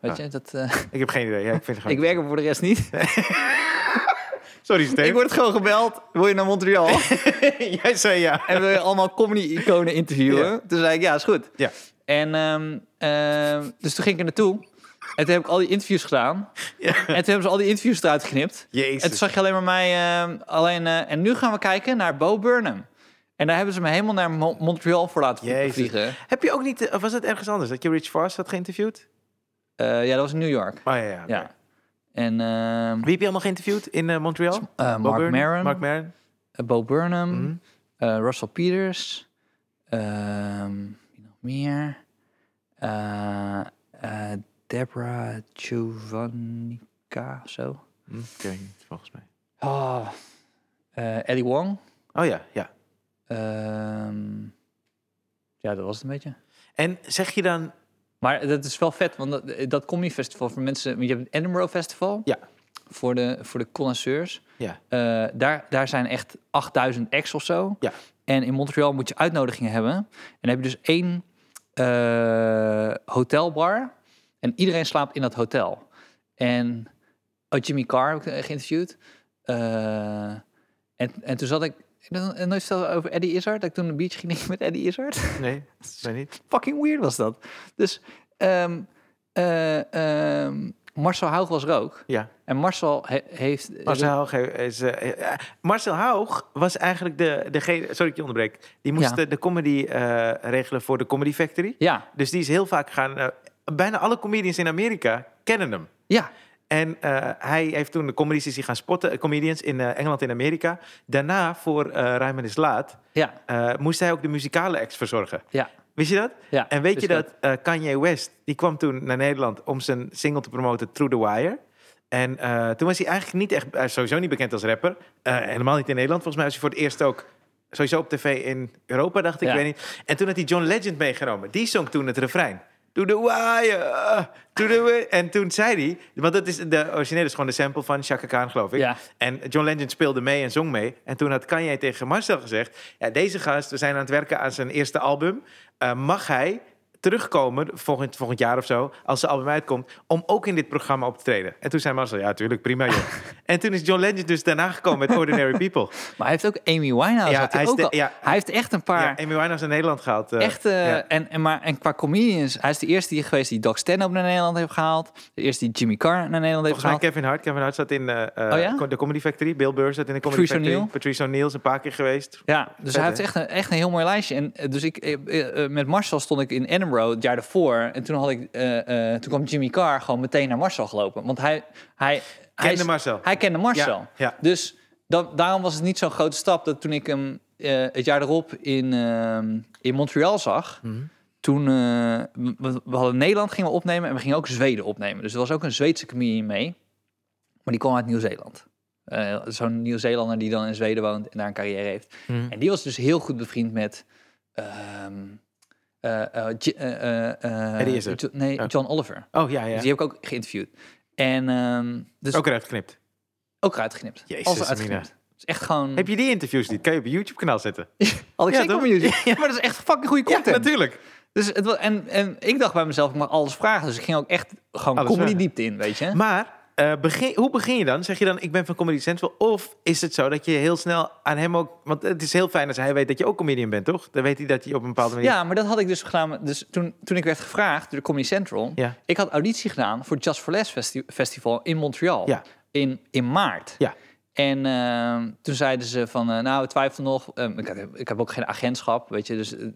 Speaker 1: weet
Speaker 3: Ah. Ja.
Speaker 1: je, dat, (laughs) eh,
Speaker 3: ik heb geen idee. Ja, (laughs) ik, vind het gewoon-
Speaker 1: ik werk er voor de rest niet.
Speaker 3: Sorry, Steve.
Speaker 1: Ik word gewoon gebeld. Wil je naar Montreal?
Speaker 3: (laughs) Jij zei (laughs) ja.
Speaker 1: en wil je allemaal comedy-iconen interviewen?
Speaker 3: Ja.
Speaker 1: Toen zei ik, ja, is goed.
Speaker 3: Ja.
Speaker 1: En ehm, ehm, dus toen ging ik er naartoe. En toen heb ik al die interviews gedaan.
Speaker 3: Ja.
Speaker 1: En toen hebben ze al die interviews eruit geknipt.
Speaker 3: Jezus.
Speaker 1: En toen zag je alleen maar mij. ehm, alleen, eh, en nu gaan we kijken naar Bo Burnham. En daar hebben ze me helemaal naar Mo- Montreal voor laten
Speaker 3: Jezus.
Speaker 1: vliegen.
Speaker 3: Heb je ook niet... eh, Of was het ergens anders? Dat je Rich Fast had geïnterviewd?
Speaker 1: Eh, ja, dat was in New York.
Speaker 3: Oh ja, ja. oké.
Speaker 1: Ja. En ehm,
Speaker 3: Wie heb je allemaal geïnterviewd in eh, Montreal?
Speaker 1: eh,
Speaker 3: Bob
Speaker 1: Mark
Speaker 3: Burnham,
Speaker 1: Maron.
Speaker 3: Mark Maron.
Speaker 1: Eh, Bo Burnham,
Speaker 3: Mhm.
Speaker 1: eh, Russell Peters, ehm, wie nog meer? Eh, eh, Deborah Giovannica, of zo.
Speaker 3: Hm, ik weet niet, volgens mij.
Speaker 1: Ah, eh, Ellie Wong.
Speaker 3: Oh ja, ja.
Speaker 1: Ehm, ja, dat was het een beetje.
Speaker 3: En zeg je dan...
Speaker 1: Maar dat is wel vet, want dat, eh, dat comedy festival voor mensen... want Je hebt het Edinburgh Festival
Speaker 3: Ja.
Speaker 1: voor de, voor de connoisseurs.
Speaker 3: Ja.
Speaker 1: Eh, daar, daar zijn echt 8000 acts of zo.
Speaker 3: Ja.
Speaker 1: En in Montreal moet je uitnodigingen hebben. En dan heb je dus één eh, hotelbar. En iedereen slaapt in dat hotel. En oh, Jimmy Carr heb ik eh, geïnterviewd. Eh, en, en toen zat ik... ik heb nog Nooit verteld over Eddie Izzard. Dat ik toen de beach ging met Eddie Izzard.
Speaker 3: Nee, nee niet.
Speaker 1: Fucking weird was dat. Dus ehm, eh, ehm, Marcel Haug was er ook.
Speaker 3: Ja.
Speaker 1: En Marcel he- heeft...
Speaker 3: Marcel Haug, he- is, eh, eh, Marcel Haug was eigenlijk de, degene... Sorry dat ik je onderbreek. Die moest
Speaker 1: Ja.
Speaker 3: de, de comedy eh, regelen voor de Comedy Factory.
Speaker 1: Ja,
Speaker 3: Dus die is heel vaak gaan... eh, bijna alle comedians in Amerika kennen hem.
Speaker 1: ja.
Speaker 3: En eh, hij heeft toen de comedies is hij gaan spotten. eh, Comedians in eh, Engeland en Amerika. Daarna, voor eh Rijmen is Laat...
Speaker 1: Ja,
Speaker 3: eh, moest hij ook de muzikale acts verzorgen.
Speaker 1: ja,
Speaker 3: Wist je dat?
Speaker 1: ja.
Speaker 3: En weet
Speaker 1: Dus
Speaker 3: je dat eh, Kanye West, die kwam toen naar Nederland om zijn single te promoten, Through the Wire. En eh, toen was hij eigenlijk niet echt, hij is sowieso niet bekend als rapper. Eh, helemaal niet in Nederland. Volgens mij was hij voor het eerst ook sowieso op tv in Europa, dacht ik,
Speaker 1: Ja.
Speaker 3: ik weet niet. En toen had hij John Legend meegenomen. Die zong toen het refrein. Through the wire, ah, through the wire. En toen zei hij, want dat is de originele is gewoon de sample van Chaka Khan, geloof ik.
Speaker 1: Ja.
Speaker 3: En John Legend speelde mee en zong mee. En toen had Kanye tegen Marcel gezegd... Ja, deze gast, we zijn aan het werken aan zijn eerste album. Eh, mag hij terugkomen, volgend, volgend jaar of zo... als zijn album uitkomt, om ook in dit programma op te treden? En toen zei Marcel, ja, tuurlijk, prima, joh.
Speaker 1: (laughs)
Speaker 3: en toen is John Legend dus daarna gekomen met Ordinary People.
Speaker 1: Maar hij heeft ook Amy Winehouse.
Speaker 3: Ja,
Speaker 1: had hij,
Speaker 3: hij is
Speaker 1: ook
Speaker 3: de-
Speaker 1: al.
Speaker 3: ja.
Speaker 1: hij heeft echt een paar...
Speaker 3: Ja, Amy Winehouse naar Nederland gehaald. eh,
Speaker 1: Echt, eh,
Speaker 3: ja.
Speaker 1: en, en, maar, en qua comedians, hij is de eerste die geweest die Doc Stanhope naar Nederland heeft gehaald. De eerste die Jimmy Carr naar Nederland heeft
Speaker 3: Volgens mij
Speaker 1: gehaald.
Speaker 3: Kevin Hart. Kevin Hart zat in eh, eh,
Speaker 1: Oh ja?
Speaker 3: co- de Comedy Factory. Bill Burr zat in de Comedy
Speaker 1: Patrice
Speaker 3: Factory.
Speaker 1: O'Neill.
Speaker 3: Patrice O'Neill is een paar keer geweest.
Speaker 1: Ja, dus
Speaker 3: Vet,
Speaker 1: hij heeft
Speaker 3: hè?
Speaker 1: echt een, echt een heel mooi lijstje. En eh, dus ik, eh, eh, eh, met Marcel stond ik in Edinburgh het jaar daarvoor. En toen, had ik, eh, eh, toen kwam Jimmy Carr gewoon meteen naar Marcel gelopen. Want hij, hij, hij,
Speaker 3: Kende Marcel.
Speaker 1: hij kende Marcel.
Speaker 3: Ja, ja.
Speaker 1: Dus dat, daarom was het niet zo'n grote stap dat toen ik hem eh, het jaar erop in, ehm, in Montreal zag.
Speaker 3: Mhm.
Speaker 1: Toen eh, we, we hadden Nederland gingen we opnemen en we gingen ook Zweden opnemen. Dus er was ook een Zweedse comedian mee. Maar die kwam uit Nieuw-Zeeland. Eh, Zo'n Nieuw-Zeelander die dan in Zweden woont en daar een carrière heeft.
Speaker 3: Hmm.
Speaker 1: En die was dus heel goed bevriend met. ehm eh, eh, J- eh, eh, eh,
Speaker 3: Eddie Izzard.
Speaker 1: Jo- nee,
Speaker 3: Oh.
Speaker 1: John Oliver.
Speaker 3: Oh ja, ja.
Speaker 1: Dus die heb ik ook geïnterviewd. En ehm, dus
Speaker 3: Ook eruit geknipt.
Speaker 1: ook uitgeknipt.
Speaker 3: Jezus,
Speaker 1: Alles uitgeknipt.
Speaker 3: Mina.
Speaker 1: Het is echt gewoon.
Speaker 3: Heb je die interviews niet? Kan je op je YouTube-kanaal zetten?
Speaker 1: Had ik
Speaker 3: Ja,
Speaker 1: zeker op
Speaker 3: toch?
Speaker 1: mijn (laughs) YouTube. Maar dat is echt fucking goede
Speaker 3: Ja,
Speaker 1: content.
Speaker 3: natuurlijk.
Speaker 1: dus het, wa- en, en ik dacht bij mezelf, ik mag alles vragen. Dus ik ging ook echt gewoon
Speaker 3: Alles
Speaker 1: comedy
Speaker 3: vragen.
Speaker 1: diepte in, weet je.
Speaker 3: Maar eh, begin, hoe begin je dan? Zeg je dan, ik ben van Comedy Central? Of is het zo dat je heel snel aan hem ook... Want het is heel fijn als hij weet dat je ook comedian bent, toch? Dan weet hij dat je op een bepaalde manier...
Speaker 1: ja, maar dat had ik dus gedaan. Dus toen, toen ik werd gevraagd door Comedy Central,
Speaker 3: Ja.
Speaker 1: ik had auditie gedaan voor het Just for Less festi- festival in Montreal
Speaker 3: Ja.
Speaker 1: in, in maart.
Speaker 3: Ja.
Speaker 1: En ehm, toen zeiden ze van, eh, nou, we twijfelen nog. Ehm, ik, heb, ik heb ook geen agentschap, weet je. Dus, eh,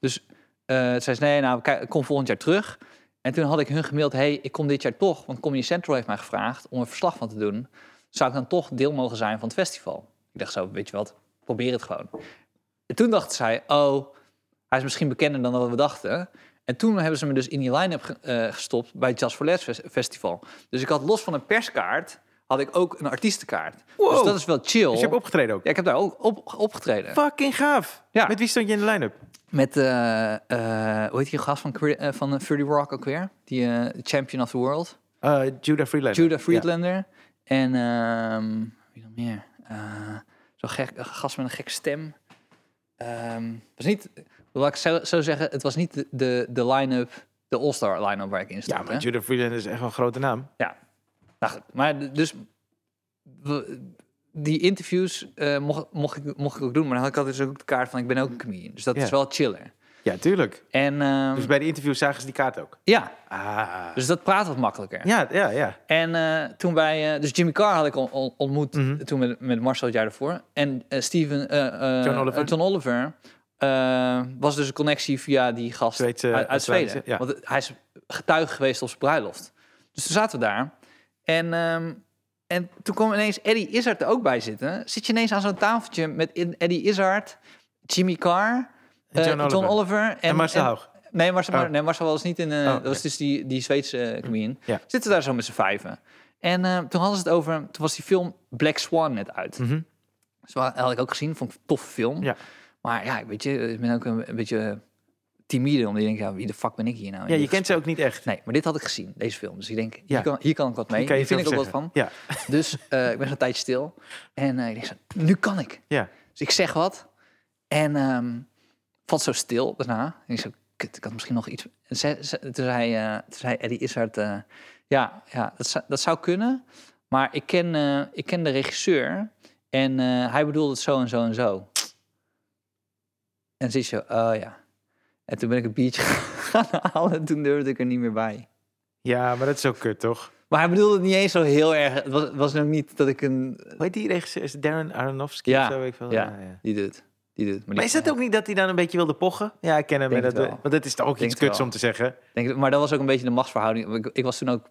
Speaker 1: dus eh zeiden ze, nee, nou, kijk, kom volgend jaar terug. En toen had ik hun gemaild, hey, ik kom dit jaar toch. Want Comedy Central heeft mij gevraagd om een verslag van te doen. Zou ik dan toch deel mogen zijn van het festival? Ik dacht zo, weet je wat, probeer het gewoon. En toen dachten zij, oh, hij is misschien bekender dan dat we dachten. En toen hebben ze me dus in die line-up ge- eh, gestopt bij het Jazz for Less fes- Festival. Dus ik had los van een perskaart, had ik ook een artiestenkaart. Dus
Speaker 3: Wow.
Speaker 1: dat is wel chill.
Speaker 3: Dus je hebt opgetreden ook.
Speaker 1: Ja, ik heb daar ook op, opgetreden.
Speaker 3: Fucking gaaf.
Speaker 1: Ja.
Speaker 3: Met wie stond je in de line-up?
Speaker 1: Met, eh eh, hoe heet die gast van, Cri- eh, van eh, 30 Rock ook weer? Die eh, champion of the world.
Speaker 3: Eh, Judah Freelander.
Speaker 1: Judah Friedlander. En ehm, wie nog meer? Eh, Zo'n gek, een gast met een gekke stem. Ehm was niet, wil ik zo, zo zeggen, het was niet de, de, de line-up, de all-star line-up waar ik in
Speaker 3: Ja,
Speaker 1: stond.
Speaker 3: ja
Speaker 1: hè?
Speaker 3: maar Judah Freelander is echt wel een grote naam.
Speaker 1: Ja. Nou goed, maar d- dus we- die interviews eh, mocht, mocht, ik, mocht ik ook doen, maar dan had ik altijd dus ook de kaart van ik ben ook een comedian. Dus dat
Speaker 3: Ja.
Speaker 1: is wel chiller.
Speaker 3: Ja, tuurlijk.
Speaker 1: En ehm,
Speaker 3: Dus bij de interview zagen ze die kaart ook.
Speaker 1: ja,
Speaker 3: Ah.
Speaker 1: dus dat praat wat makkelijker.
Speaker 3: Ja, ja, ja.
Speaker 1: En eh, toen bij, eh, dus Jimmy Carr had ik on- on- ontmoet eh,
Speaker 3: Mhm.
Speaker 1: toen met, met Marcel het jaar daarvoor. En eh, Steven, eh, eh,
Speaker 3: John Oliver.
Speaker 1: eh, John Oliver eh, was dus een connectie via die gast
Speaker 3: Zweedse-
Speaker 1: uit, uit
Speaker 3: Australische,
Speaker 1: Zweden.
Speaker 3: ja.
Speaker 1: Want hij is getuige geweest op zijn bruiloft. Dus toen zaten we daar. En, ehm, en toen kwam ineens Eddie Izzard er ook bij zitten. Zit je ineens aan zo'n tafeltje met in- Eddie Izzard, Jimmy Carr, eh,
Speaker 3: John Oliver.
Speaker 1: Oliver en,
Speaker 3: En Marcel Haug.
Speaker 1: Nee, Marcel,
Speaker 3: Oh.
Speaker 1: maar- nee, Marcel was niet in. eh,
Speaker 3: oké.
Speaker 1: Dat was dus die, die Zweedse eh, comedian.
Speaker 3: Ja.
Speaker 1: Zitten daar zo met z'n vijven. En eh, toen hadden ze het over. Toen was die film Black Swan net uit.
Speaker 3: Mhm.
Speaker 1: Dus dat had ik ook gezien. Vond ik een toffe film.
Speaker 3: Ja.
Speaker 1: Maar ja, weet je, ik ben ook een, een beetje timide, omdat je denkt, ja, wie de fuck ben ik hier nou? in
Speaker 3: Ja, je
Speaker 1: dit
Speaker 3: kent ze ook niet echt.
Speaker 1: Nee, maar dit had ik gezien, deze film. Dus ik denk,
Speaker 3: Ja.
Speaker 1: hier, kan, hier kan ik wat mee.
Speaker 3: Daar
Speaker 1: Hier
Speaker 3: je
Speaker 1: vind ik ook
Speaker 3: veel
Speaker 1: wat
Speaker 3: over
Speaker 1: van.
Speaker 3: zeggen.
Speaker 1: Dus eh, ik ben een tijdje stil. En eh, ik denk, zo, nu kan ik.
Speaker 3: Ja, ja.
Speaker 1: Dus ik zeg wat. En ehm valt zo stil daarna. En ik zo, kut, ik had misschien nog iets... En ze, ze- toen, zei, eh toen zei Eddie Izzard, eh, ja, ja dat, zou- dat zou kunnen. Maar ik ken, eh, ik ken de regisseur. En eh, hij bedoelde het zo en zo en zo. En zit je, oh ja. En toen ben ik een biertje (laughs) gaan halen. En toen durfde ik er niet meer bij.
Speaker 3: Ja, maar dat is ook kut, toch?
Speaker 1: Maar hij bedoelde het niet eens zo heel erg. Het was, was ook niet dat ik een...
Speaker 3: Hoe heet die regisseur? Is het Darren Aronofsky
Speaker 1: Ja,
Speaker 3: of zo? Ik veel.
Speaker 1: "Ah, ja.
Speaker 3: ja.
Speaker 1: Die doet. Die doet.
Speaker 3: Maar is dat ook niet dat hij dan een beetje wilde pochen? Ja, ik ken hem.
Speaker 1: Denk
Speaker 3: maar dat,
Speaker 1: het wel.
Speaker 3: want dat is toch ook
Speaker 1: Denk
Speaker 3: iets
Speaker 1: het
Speaker 3: kuts
Speaker 1: wel.
Speaker 3: om te zeggen.
Speaker 1: Denk, het- maar dat was ook een beetje de machtsverhouding. Ik, ik was toen ook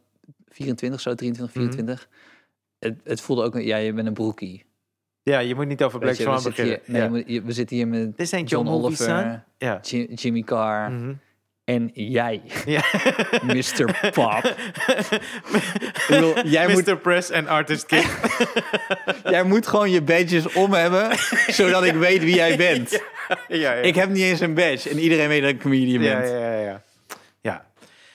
Speaker 1: 24, zo 23,
Speaker 3: Mhm.
Speaker 1: 24. Het, het voelde ook, ja, je bent een broekie.
Speaker 3: Ja, je moet niet over Black
Speaker 1: Weet je, we
Speaker 3: Swan
Speaker 1: zitten
Speaker 3: beginnen.
Speaker 1: hier, nee,
Speaker 3: ja.
Speaker 1: je moet- je- we zitten hier met
Speaker 3: Dit zijn
Speaker 1: John
Speaker 3: John Movie's
Speaker 1: Oliver, eh,
Speaker 3: ja.
Speaker 1: Ji- Jimmy Carr
Speaker 3: Mhm.
Speaker 1: en jij,
Speaker 3: ja.
Speaker 1: Mr.
Speaker 3: (laughs)
Speaker 1: Pop. Ik bedoel, jij, moet,
Speaker 3: Mr. Press en
Speaker 1: (laughs)
Speaker 3: Artist Kid.
Speaker 1: jij moet gewoon je badges om
Speaker 3: (laughs)
Speaker 1: hebben, zodat ik weet wie jij bent.
Speaker 3: ja, ja.
Speaker 1: Ik heb niet eens een badge en iedereen weet dat ik comedian
Speaker 3: ja,
Speaker 1: ben.
Speaker 3: ja, ja, ja. Ja.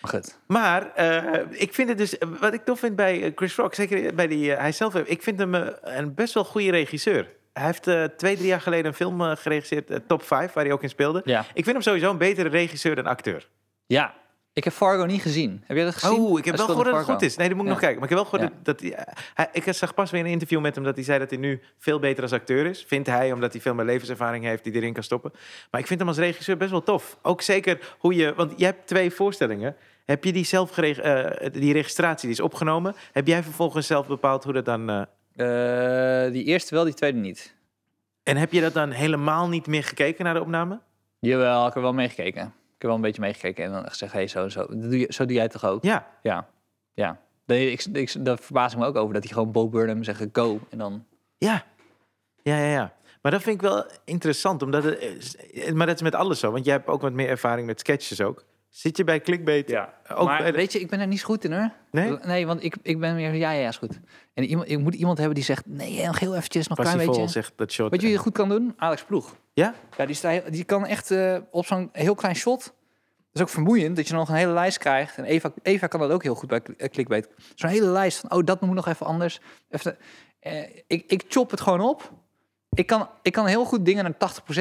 Speaker 1: Maar goed.
Speaker 3: Maar eh, ik vind het dus, wat ik tof vind bij eh, Chris Rock, zeker bij die, eh, hij zelf, ik vind hem eh, een best wel goede regisseur. Hij heeft eh, twee, drie jaar geleden een film eh, geregisseerd, eh, Top 5, waar hij ook in speelde.
Speaker 1: Ja.
Speaker 3: Ik vind hem sowieso een betere regisseur dan acteur.
Speaker 1: Ja, ik heb Fargo niet gezien. Heb jij dat gezien?
Speaker 3: Oh,
Speaker 1: Hij
Speaker 3: ik heb wel
Speaker 1: speelde
Speaker 3: gehoord dat het
Speaker 1: Fargo.
Speaker 3: goed is. Nee, dat moet ik
Speaker 1: Ja.
Speaker 3: nog kijken. Maar ik heb wel gehoord
Speaker 1: Ja.
Speaker 3: dat, dat hij, hij- Ik zag pas weer een interview met hem dat hij zei dat hij nu veel beter als acteur is. Vindt hij, omdat hij veel meer levenservaring heeft die hij erin kan stoppen. Maar ik vind hem als regisseur best wel tof. Ook zeker hoe je... Want je hebt twee voorstellingen. Heb je die zelf gereg- eh, die registratie die is opgenomen? Heb jij vervolgens zelf bepaald hoe dat dan... eh,
Speaker 1: Eh, die eerste wel, die tweede niet.
Speaker 3: en heb je dat dan helemaal niet meer gekeken naar de opname?
Speaker 1: Jawel, ik heb wel meegekeken. Ik heb wel een beetje meegekeken en dan gezegd, hé, hey, zo en zo. Dat doe je, zo doe jij het toch ook?
Speaker 3: Ja.
Speaker 1: Ja. ja. Nee, ik, ik, daar verbaas ik me ook over, dat hij gewoon Bo Burnham zegt eh, go. En dan,
Speaker 3: Ja. Ja, ja, ja. Maar dat vind ik wel interessant, omdat het, is- maar dat is met alles zo. Want jij hebt ook wat meer ervaring met sketches ook. Zit je bij clickbait? Eh,
Speaker 1: Ja.
Speaker 3: Ook
Speaker 1: maar
Speaker 3: bij de-
Speaker 1: weet je, ik ben er niet zo goed in hoor.
Speaker 3: Nee?
Speaker 1: want ik, ik ben weer, ja, ja, ja, is goed. En iemand, ik moet iemand hebben die zegt, nee, eh, nog heel eventjes, nog een klein
Speaker 3: Passievol
Speaker 1: beetje.
Speaker 3: zegt dat shot.
Speaker 1: Weet je wie het goed kan doen? Alex Ploeg.
Speaker 3: Ja?
Speaker 1: Ja, die, sta, die kan echt eh, op zo'n heel klein shot. Dat is ook vermoeiend dat je nog een hele lijst krijgt. En Eva, Eva kan dat ook heel goed bij cl- eh, clickbait. Zo'n hele lijst van, oh, dat moet nog even anders. Even, eh, ik, ik chop het gewoon op. Ik kan, ik kan heel goed dingen naar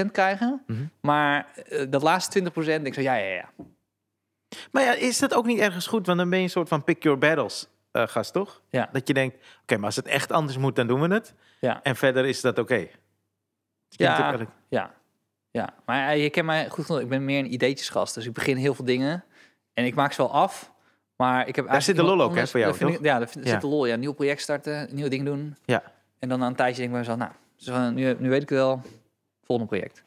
Speaker 1: 80% krijgen.
Speaker 3: Mhm.
Speaker 1: Maar eh, dat laatste 20% denk ik zo, ja, ja, ja.
Speaker 3: Maar ja, is dat ook niet ergens goed? Want dan ben je een soort van pick your battles eh, gast, toch?
Speaker 1: Ja.
Speaker 3: Dat je denkt, oké, maar als het echt anders moet, dan doen we het.
Speaker 1: Ja.
Speaker 3: En verder is dat oké.
Speaker 1: Ja.
Speaker 3: Klinkt ook-
Speaker 1: Ja, ja. maar eh, je kent mij goed genoeg. Ik ben meer een ideetjesgast, dus ik begin heel veel dingen. En ik maak ze wel af, maar ik heb eigenlijk
Speaker 3: zit de
Speaker 1: iemand
Speaker 3: lol ook, hè,
Speaker 1: anders-
Speaker 3: voor jou,
Speaker 1: dat vind ik-
Speaker 3: toch?
Speaker 1: ja, daar vind-
Speaker 3: Ja.
Speaker 1: zit de lol. Ja, nieuw project starten, nieuw ding doen.
Speaker 3: Ja.
Speaker 1: En dan na een tijdje denk ik bij mezelf, nou, zo, nu, nu weet ik het wel. Volgende project.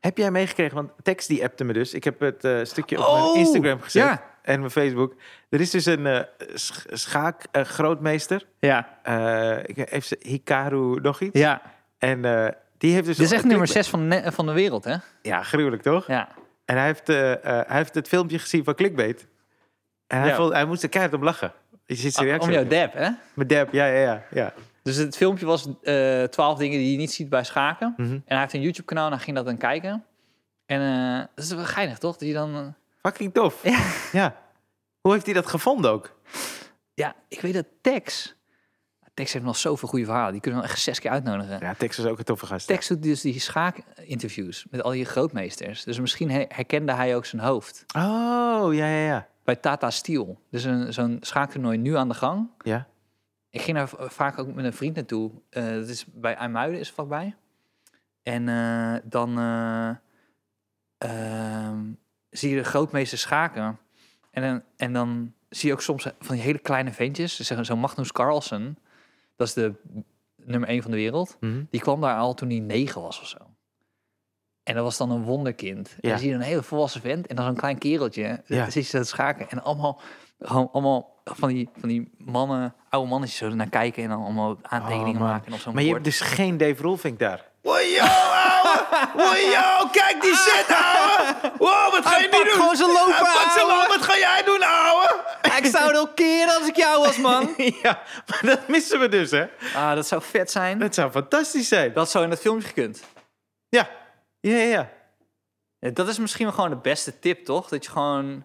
Speaker 3: Heb jij meegekregen? Want Tex die appte me dus. Ik heb het eh, stukje op
Speaker 1: Oh,
Speaker 3: mijn Instagram gezet.
Speaker 1: ja.
Speaker 3: En mijn Facebook. Er is dus een eh sch- schaak eh, grootmeester.
Speaker 1: Ja,
Speaker 3: Eh, ik heeft ze Hikaru nog iets.
Speaker 1: ja.
Speaker 3: En eh, die heeft dus...
Speaker 1: Dit is echt nummer 6 van, ne- van de wereld, hè?
Speaker 3: Ja, gruwelijk toch?
Speaker 1: Ja.
Speaker 3: En hij heeft, eh, eh, hij heeft het filmpje gezien van Clickbait. En hij,
Speaker 1: Ja. Ah,
Speaker 3: vond, hij moest er keihard om lachen. Je ziet zijn
Speaker 1: Om
Speaker 3: reactie.
Speaker 1: jouw dab,
Speaker 3: ook.
Speaker 1: hè?
Speaker 3: Met Deb, ja, ja, ja. ja.
Speaker 1: Dus het filmpje was eh, twaalf dingen die je niet ziet bij schaken.
Speaker 3: Mhm.
Speaker 1: En hij heeft een YouTube-kanaal en hij ging dat dan kijken. En eh, dat is wel geinig, toch? Dat je dan... eh,
Speaker 3: Fucking tof.
Speaker 1: Ja.
Speaker 3: ja. Hoe heeft hij dat gevonden ook?
Speaker 1: Ja, ik weet dat Tex... Tex heeft nog zoveel goede verhalen. Die kunnen we echt zes keer uitnodigen.
Speaker 3: Ja, Tex was ook een toffe gast.
Speaker 1: Tex doet dus die schaakinterviews met al die grootmeesters. Dus misschien he- herkende hij ook zijn hoofd.
Speaker 3: Oh, ja, ja, ja.
Speaker 1: Bij Tata Steel. Dus een, zo'n schaaktoernooi nu aan de gang.
Speaker 3: Ja.
Speaker 1: Ik ging daar v- vaak ook met een vriend naartoe. Eh, dat is bij IJmuiden is vlakbij. En eh, dan eh, ehm, zie je de grootmeester schaken. En, dan- en dan zie je ook soms van die hele kleine ventjes. Ze zeggen Zo Magnus Carlsen, dat is de nummer één van de wereld.
Speaker 3: Mhm.
Speaker 1: Die kwam daar al toen hij negen was of zo. En dat was dan een wonderkind. En
Speaker 3: Ja.
Speaker 1: dan zie je een hele volwassen vent en dan zo'n klein kereltje.
Speaker 3: Ja.
Speaker 1: Dan zit je dat schaken en allemaal, gewoon allemaal van, die, van die mannen, oude mannetjes zo naar kijken en dan allemaal aantekeningen
Speaker 3: Oh, man.
Speaker 1: maken. En op zo'n
Speaker 3: Maar je
Speaker 1: bord.
Speaker 3: hebt dus geen Dave Roelvink daar.
Speaker 2: Wojo, ouwe! Wojo, kijk die shit, ouwe! Wow, wat ga je nu
Speaker 1: pakt
Speaker 2: doen?
Speaker 1: gewoon zijn lopen
Speaker 2: Hij pakt zijn
Speaker 1: ouwe!
Speaker 2: lopen, wat ga jij doen, ouwe?
Speaker 1: Ik zou het ook keren als ik jou was, (laughs) man.
Speaker 3: (laughs) ja, maar dat missen we dus, hè?
Speaker 1: ah, dat zou vet zijn.
Speaker 3: Dat zou fantastisch zijn.
Speaker 1: Dat zou in het filmpje gekund.
Speaker 3: Ja, ja, ja. ja.
Speaker 1: Ja, Dat is misschien wel gewoon de beste tip, toch? Dat je gewoon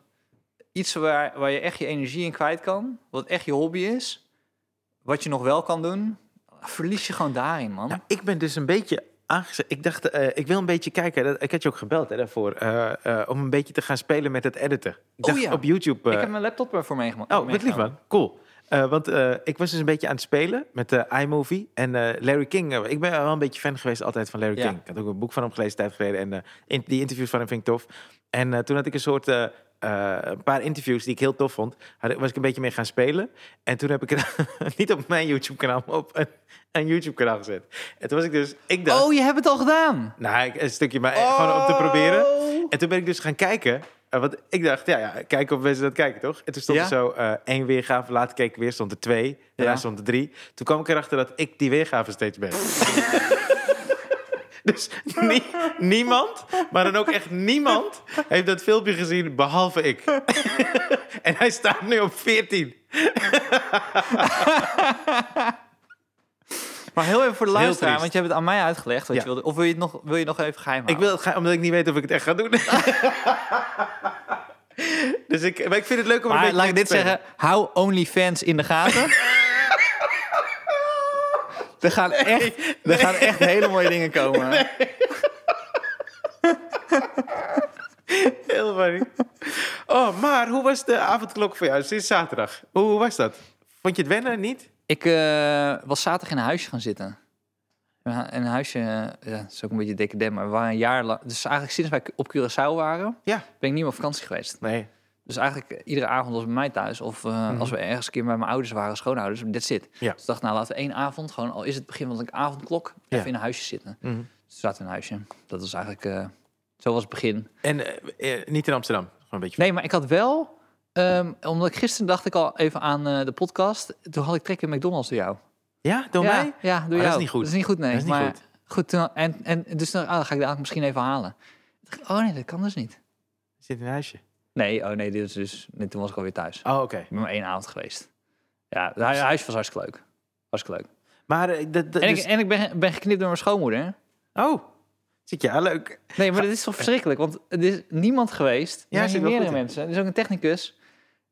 Speaker 1: iets waar, waar je echt je energie in kwijt kan, wat echt je hobby is, wat je nog wel kan doen, verlies je gewoon daarin, man.
Speaker 3: Nou, ik ben dus een beetje aangezet. Ik dacht, eh, ik wil een beetje kijken. Dat, ik had je ook gebeld hè, daarvoor. eh, eh, om een beetje te gaan spelen met het editen. Ik
Speaker 1: Oh
Speaker 3: dacht
Speaker 1: ja.
Speaker 3: op YouTube. eh,
Speaker 1: ik heb mijn laptop ervoor meegemaakt.
Speaker 3: Oh, wat lief man. Cool. Eh, want eh, ik was dus een beetje aan het spelen met de iMovie en eh, Larry King. eh, ik ben wel een beetje fan geweest altijd van Larry
Speaker 1: Ja.
Speaker 3: King. Ik had ook een boek van hem gelezen een tijd geleden en eh, in- die interviews van hem vind ik tof. En eh, toen had ik een soort, eh, eh, een paar interviews die ik heel tof vond, had, ik- was ik een beetje mee gaan spelen. En toen heb ik het (laughs) niet op mijn YouTube kanaal, maar op een, een YouTube kanaal gezet. En toen was ik dus, ik dacht,
Speaker 1: Oh, je hebt het al gedaan.
Speaker 3: nou, ik- een stukje, maar eh, gewoon om te proberen. En toen ben ik dus gaan kijken. eh, want ik dacht, ja, ja, kijken of mensen dat kijken, toch? En toen stond
Speaker 1: Ja.
Speaker 3: er zo eh, één weergave. Later keek ik weer, stond er twee. Daarna
Speaker 1: Ja.
Speaker 3: stond er drie. Toen kwam ik erachter dat ik die weergave steeds ben. (laughs) dus nie- niemand, maar dan ook echt niemand... heeft dat filmpje gezien, behalve ik. (laughs) en hij staat nu op 14.
Speaker 1: Maar heel even voor de luisteraar,
Speaker 3: triest.
Speaker 1: want je hebt het aan mij uitgelegd wat
Speaker 3: Ja.
Speaker 1: je wilde. Of wil je het nog, wil je nog even geheim houden?
Speaker 3: Ik wil het gaan, omdat ik niet weet of ik het echt ga doen. (laughs) dus ik, maar ik vind het leuk om er een
Speaker 1: maar
Speaker 3: beetje
Speaker 1: laat ik
Speaker 3: mee
Speaker 1: dit
Speaker 3: te spelen.
Speaker 1: zeggen, hou OnlyFans in de
Speaker 3: (laughs)
Speaker 1: gaten. er, gaan echt, er gaan echt hele mooie dingen komen.
Speaker 3: Heel funny. Oh, maar hoe was de avondklok voor jou sinds zaterdag? Hoe, hoe was dat? Vond je het wennen, niet?
Speaker 1: Ik eh, was zaterdag in een huisje gaan zitten. In een hu- in een huisje, eh, ja, dat is ook een beetje decadent, maar we waren een jaar lang... Dus eigenlijk sinds wij op Curaçao waren,
Speaker 3: Ja.
Speaker 1: ben ik niet meer op vakantie geweest.
Speaker 3: Nee.
Speaker 1: Dus eigenlijk eh, iedere avond was bij mij thuis. Of eh, als we ergens een keer bij mijn ouders waren, schoonouders, dit zit.
Speaker 3: Mhm. Ja.
Speaker 1: Dus ik dacht, nou laten we één avond, gewoon al is het begin van een avondklok,
Speaker 3: Ja.
Speaker 1: even in een huisje zitten.
Speaker 3: Mhm.
Speaker 1: Dus we zaten in een huisje. Dat was eigenlijk, eh, zo was het begin.
Speaker 3: En eh, eh, niet in Amsterdam? Gewoon een beetje...
Speaker 1: Nee, maar ik had wel, ehm, omdat ik gisteren dacht ik al even aan eh, de podcast. Toen had ik trek in McDonald's door jou.
Speaker 3: Ja, door
Speaker 1: ja,
Speaker 3: mij? Oh,
Speaker 1: Ja, door
Speaker 3: dat is
Speaker 1: jou.
Speaker 3: niet goed.
Speaker 1: Dat is niet goed, nee.
Speaker 3: Dat is niet
Speaker 1: maar
Speaker 3: goed.
Speaker 1: goed. toen- en, en dus dan, ah, dan ga ik dat misschien even halen. Toen dacht ik, Oh nee, dat kan dus niet.
Speaker 3: Zit in een huisje.
Speaker 1: Nee, oh nee, dit is dus, nee, toen was ik alweer thuis.
Speaker 3: Oh, oké.
Speaker 1: Ik ben maar één avond geweest. Ja, het hu- huisje was hartstikke leuk. Hartstikke leeg.
Speaker 3: Maar eh, dat... dat
Speaker 1: En,
Speaker 3: dus-
Speaker 1: ik, en ik ben, ben geknipt door mijn schoonmoeder.
Speaker 3: Oh, zit je? Ja, leuk.
Speaker 1: Nee, maar dit is toch verschrikkelijk? Want er is niemand geweest.
Speaker 3: Ja,
Speaker 1: Er
Speaker 3: zit
Speaker 1: zijn
Speaker 3: wel
Speaker 1: meerdere
Speaker 3: goed in.
Speaker 1: mensen. Er is ook een technicus.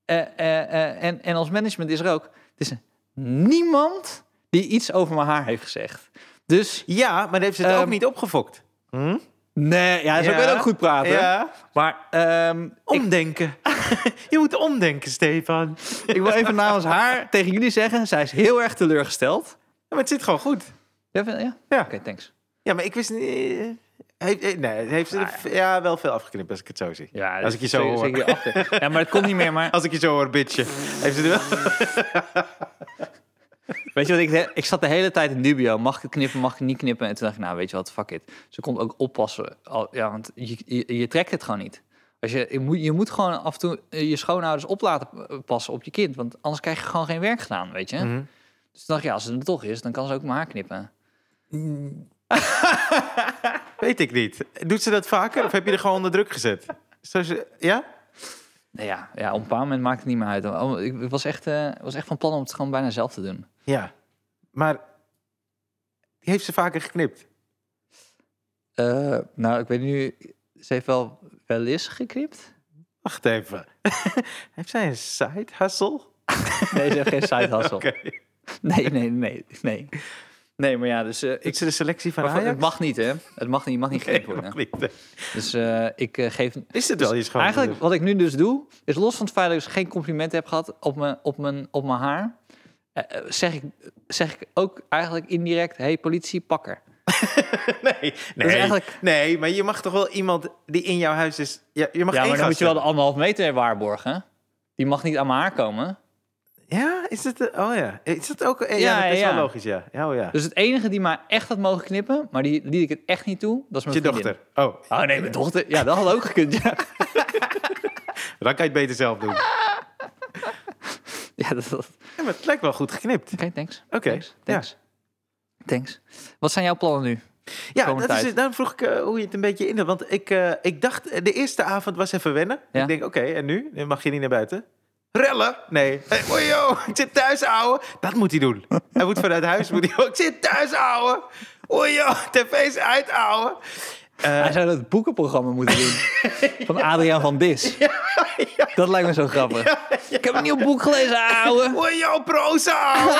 Speaker 1: Eh, eh, eh, en, en als management is er ook. Er is niemand die iets over mijn haar heeft gezegd. Dus
Speaker 3: Ja, maar heeft ze het
Speaker 1: Ehm,
Speaker 3: ook niet opgefokt? Hm?
Speaker 1: nee, ja,
Speaker 3: Ja.
Speaker 1: praten.
Speaker 3: Ja.
Speaker 1: Maar ehm, ik,
Speaker 3: Omdenken. (laughs) je moet omdenken, Stefan.
Speaker 1: ik wil even namens haar tegen jullie zeggen, zij is heel erg teleurgesteld.
Speaker 3: Ja, maar het zit gewoon goed.
Speaker 1: Ja, vind- ja?
Speaker 3: Ja.
Speaker 1: Oké, thanks.
Speaker 3: Ja, maar ik wist niet... eh, heeft- eh, nee, heeft ze er
Speaker 1: Nou
Speaker 3: v- ja, wel veel afgeknipt als ik het zo zie.
Speaker 1: Ja,
Speaker 3: als ik je zo hoor.
Speaker 1: Ja, maar het komt niet meer. Maar
Speaker 3: Als ik je zo hoor, bitchje. Heeft ze er wel...
Speaker 1: Weet je wat, ik, ik zat de hele tijd in dubio. Mag ik het knippen, mag ik het niet knippen? En toen dacht ik, nou weet je wat, fuck it. Ze kon ook oppassen. Al- Ja, want je, je, je trekt het gewoon niet. Als je, je, moet, je moet gewoon af en toe eh, je schoonouders op laten eh, passen op je kind. Want anders krijg je gewoon geen werk gedaan, weet je.
Speaker 3: Mhm.
Speaker 1: Dus toen dacht ik, ja, als het er toch is, dan kan ze ook mijn haar knippen.
Speaker 3: Weet ik niet. Doet ze dat vaker of heb je er gewoon onder druk gezet? Zo ze- ja?
Speaker 1: Nou ja, ja, op een bepaald moment maakt het niet meer uit. Oh, Ik ik was echt, eh, was echt van plan om het gewoon bijna zelf te doen.
Speaker 3: Ja. Maar die heeft ze vaker geknipt.
Speaker 1: Eh, nou, ik weet nu... Ze heeft wel, wel eens geknipt.
Speaker 3: Wacht even. (laughs) heeft zij een side
Speaker 1: Oh.
Speaker 3: hustle?
Speaker 1: Nee, ze heeft geen side (laughs) hustle.
Speaker 3: Oké.
Speaker 1: Nee, nee, nee, nee. Nee, maar ja, dus eh,
Speaker 3: Doet
Speaker 1: ik...
Speaker 3: ze de selectie van
Speaker 1: Maar
Speaker 3: Ajax?
Speaker 1: het mag niet, hè? Het mag niet, je mag niet geknipt
Speaker 3: Nee,
Speaker 1: worden.
Speaker 3: mag niet.
Speaker 1: Dus eh, ik eh, geef...
Speaker 3: Is het wel je schoon?
Speaker 1: Eigenlijk wat ik nu dus doe, is los van het feit dat ik dus geen complimenten heb gehad op mijn, op mijn, op mijn haar, eh, eh, zeg, ik, zeg ik ook eigenlijk indirect, hey politie, pakker. (laughs)
Speaker 3: Nee, nee,
Speaker 1: is eigenlijk-
Speaker 3: nee, maar je mag toch wel iemand die in jouw huis is... Ja, je mag
Speaker 1: Ja,
Speaker 3: één
Speaker 1: maar dan moet
Speaker 3: gast
Speaker 1: je wel de
Speaker 3: hebben.
Speaker 1: anderhalf meter waarborgen. hè? Die mag niet aan mijn haar komen.
Speaker 3: Ja, is het... eh, Oh ja. Is dat ook... eh, Ja,
Speaker 1: Ja,
Speaker 3: dat is
Speaker 1: ja.
Speaker 3: wel logisch, ja. Ja, oh ja.
Speaker 1: Dus het enige die mij echt had mogen knippen, maar die liet ik het echt niet toe, dat is mijn
Speaker 3: je
Speaker 1: vriendin.
Speaker 3: dochter. Oh,
Speaker 1: Oh nee, mijn dochter. Ja, dat had ook gekund,
Speaker 3: (laughs)
Speaker 1: ja.
Speaker 3: dan kan je het beter zelf
Speaker 1: (laughs)
Speaker 3: doen.
Speaker 1: Ja, dat, dat,
Speaker 3: Ja, maar het lijkt wel goed geknipt.
Speaker 1: Oké, thanks.
Speaker 3: Oké,
Speaker 1: Thanks. Thanks. Thanks. Wat zijn jouw plannen nu?
Speaker 3: Ja,
Speaker 1: komende
Speaker 3: dat is
Speaker 1: tijd.
Speaker 3: het. daarom vroeg ik eh, hoe je het een beetje in Want ik, eh, ik dacht, eh, de eerste avond was even wennen.
Speaker 1: Ja.
Speaker 3: Ik denk, oké, en nu? Nu mag je niet naar buiten. Rellen? Nee. Hey, oei, yo, ik zit thuis, ouwe. Dat moet hij doen. Hij (laughs) moet vanuit huis. Moet hij, ik zit thuis, ouwe. Oei, yo, tv's uit, ouwe.
Speaker 1: Hij zou dat boekenprogramma moeten
Speaker 3: (laughs)
Speaker 1: doen. van Adriaan van Dis. Dat lijkt me zo grappig. Ik heb een nieuw boek gelezen, ouwe.
Speaker 3: Oei, jouw proza! (laughs)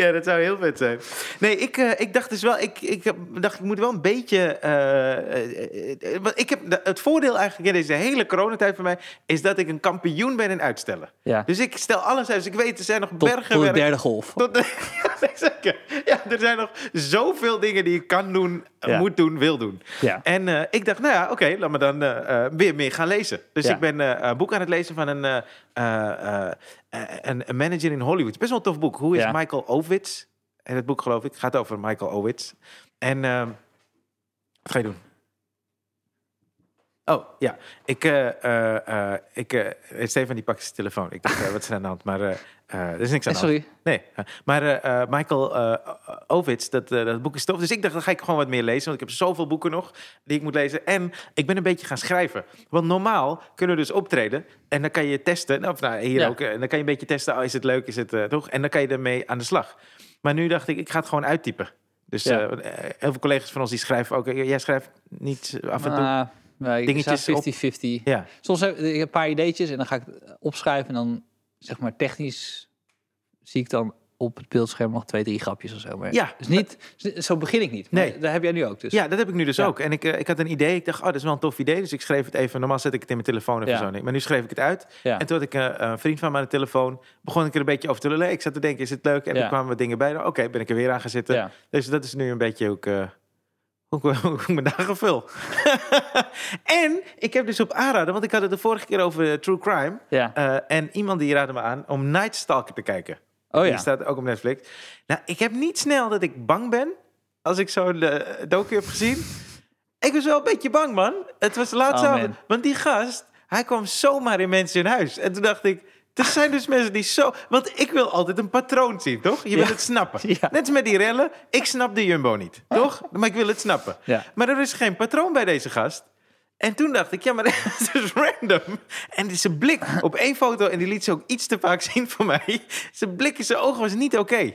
Speaker 3: ja, dat zou heel vet zijn. Nee, ik, eh, ik dacht dus wel, ik, ik dacht, ik moet wel een beetje. eh, eh, eh, want ik heb de- het voordeel eigenlijk in deze hele coronatijd voor mij is dat ik een kampioen ben in uitstellen.
Speaker 1: Ja.
Speaker 3: Dus ik stel alles uit. Dus ik weet, er zijn nog
Speaker 1: Tot,
Speaker 3: bergen.
Speaker 1: tot de
Speaker 3: werk-
Speaker 1: derde golf.
Speaker 3: tot de- (laughs) ja, nee, zeker. Ja, er zijn nog zoveel dingen die ik kan doen,
Speaker 1: Ja.
Speaker 3: moet doen, wil doen.
Speaker 1: Ja.
Speaker 3: En eh, ik dacht, nou ja, oké, laat me dan eh, eh, weer meer gaan lezen. Dus
Speaker 1: Ja.
Speaker 3: ik ben eh, een boek aan het lezen van een, eh, eh, eh, een, een manager in Hollywood. Het is Best wel een tof boek. Hoe is
Speaker 1: Ja.
Speaker 3: Michael Ovitz? En het boek, geloof ik, gaat over Michael Ovitz. En ehm, wat ga je doen? Oh, ja. Ik, eh eh, eh, ik, eh, Stefan die pakt zijn telefoon. Ik dacht, eh, wat is er aan de hand? Maar eh, eh, er is niks aan de hand.
Speaker 1: Sorry.
Speaker 3: Nee, eh, maar eh, eh, Michael eh Ovitz, dat, eh, dat boek is tof. Dus ik dacht, dan ga ik gewoon wat meer lezen. Want ik heb zoveel boeken nog die ik moet lezen. En ik ben een beetje gaan schrijven. Want normaal kunnen we dus optreden. En dan kan je testen. Nou, of nou, hier
Speaker 1: Ja.
Speaker 3: ook. eh, En dan kan je een beetje testen. Oh, is het leuk? Is het eh, toch? En dan kan je ermee aan de slag. Maar nu dacht ik, ik ga het gewoon uittypen. Dus
Speaker 1: Ja.
Speaker 3: eh, heel veel collega's van ons die schrijven ook. eh, Jij schrijft niet af en toe.
Speaker 1: Ah, nee, ik
Speaker 3: Dingetjes
Speaker 1: zag
Speaker 3: op.
Speaker 1: 50-50.
Speaker 3: ja.
Speaker 1: Soms heb ik een paar ideetjes en dan ga ik het opschrijven. En dan zeg maar technisch zie ik dan op het beeldscherm nog twee, drie grapjes of zo. Maar
Speaker 3: Ja.
Speaker 1: dus niet, zo begin ik niet. Maar
Speaker 3: Nee.
Speaker 1: Dat heb jij nu ook dus.
Speaker 3: Ja, dat heb ik nu dus
Speaker 1: Ja.
Speaker 3: ook. En ik, eh, ik had een idee. Ik dacht, oh, dat is wel een tof idee. Dus ik schreef het even. Normaal zet ik het in mijn telefoon even
Speaker 1: Ja.
Speaker 3: zo. niet. Maar nu schreef ik het uit.
Speaker 1: Ja.
Speaker 3: En toen had ik eh, een vriend van mij aan de telefoon. Begon ik er een beetje over te lullen. Ik zat te denken, is het leuk? En
Speaker 1: Ja.
Speaker 3: toen kwamen wat dingen bij. Nou, Oké, ben ik er weer aan gaan zitten.
Speaker 1: Ja.
Speaker 3: Dus dat is nu een beetje ook... eh, hoe ik- (laughs) hoe ik mijn dagen vul. (laughs) en ik heb dus op aanraden, want ik had het de vorige keer over eh, true crime.
Speaker 1: Ja.
Speaker 3: Eh, en iemand die raadde me aan om Night Stalker te kijken.
Speaker 1: Oh
Speaker 3: Die
Speaker 1: ja.
Speaker 3: staat ook op Netflix. Nou, ik heb niet snel dat ik bang ben als ik zo'n eh, docu heb gezien. Ik was wel een beetje bang, man. Het was de laatste
Speaker 1: Oh,
Speaker 3: avond.
Speaker 1: man.
Speaker 3: Want die gast, hij kwam zomaar in mensen in huis. En toen dacht ik, er zijn dus mensen die zo... Want ik wil altijd een patroon zien, toch? Je wilt het snappen.
Speaker 1: (laughs) Ja.
Speaker 3: Net als met die rellen. Ik snap de Jumbo
Speaker 1: (laughs)
Speaker 3: niet, toch? Maar ik wil het snappen.
Speaker 1: Ja.
Speaker 3: Maar er is geen patroon bij deze gast. En toen dacht ik, ja, maar (laughs) dat is dus random. En zijn blik op één foto, en die liet ze ook iets te vaak zien voor mij. Zijn blik in zijn ogen was niet oké.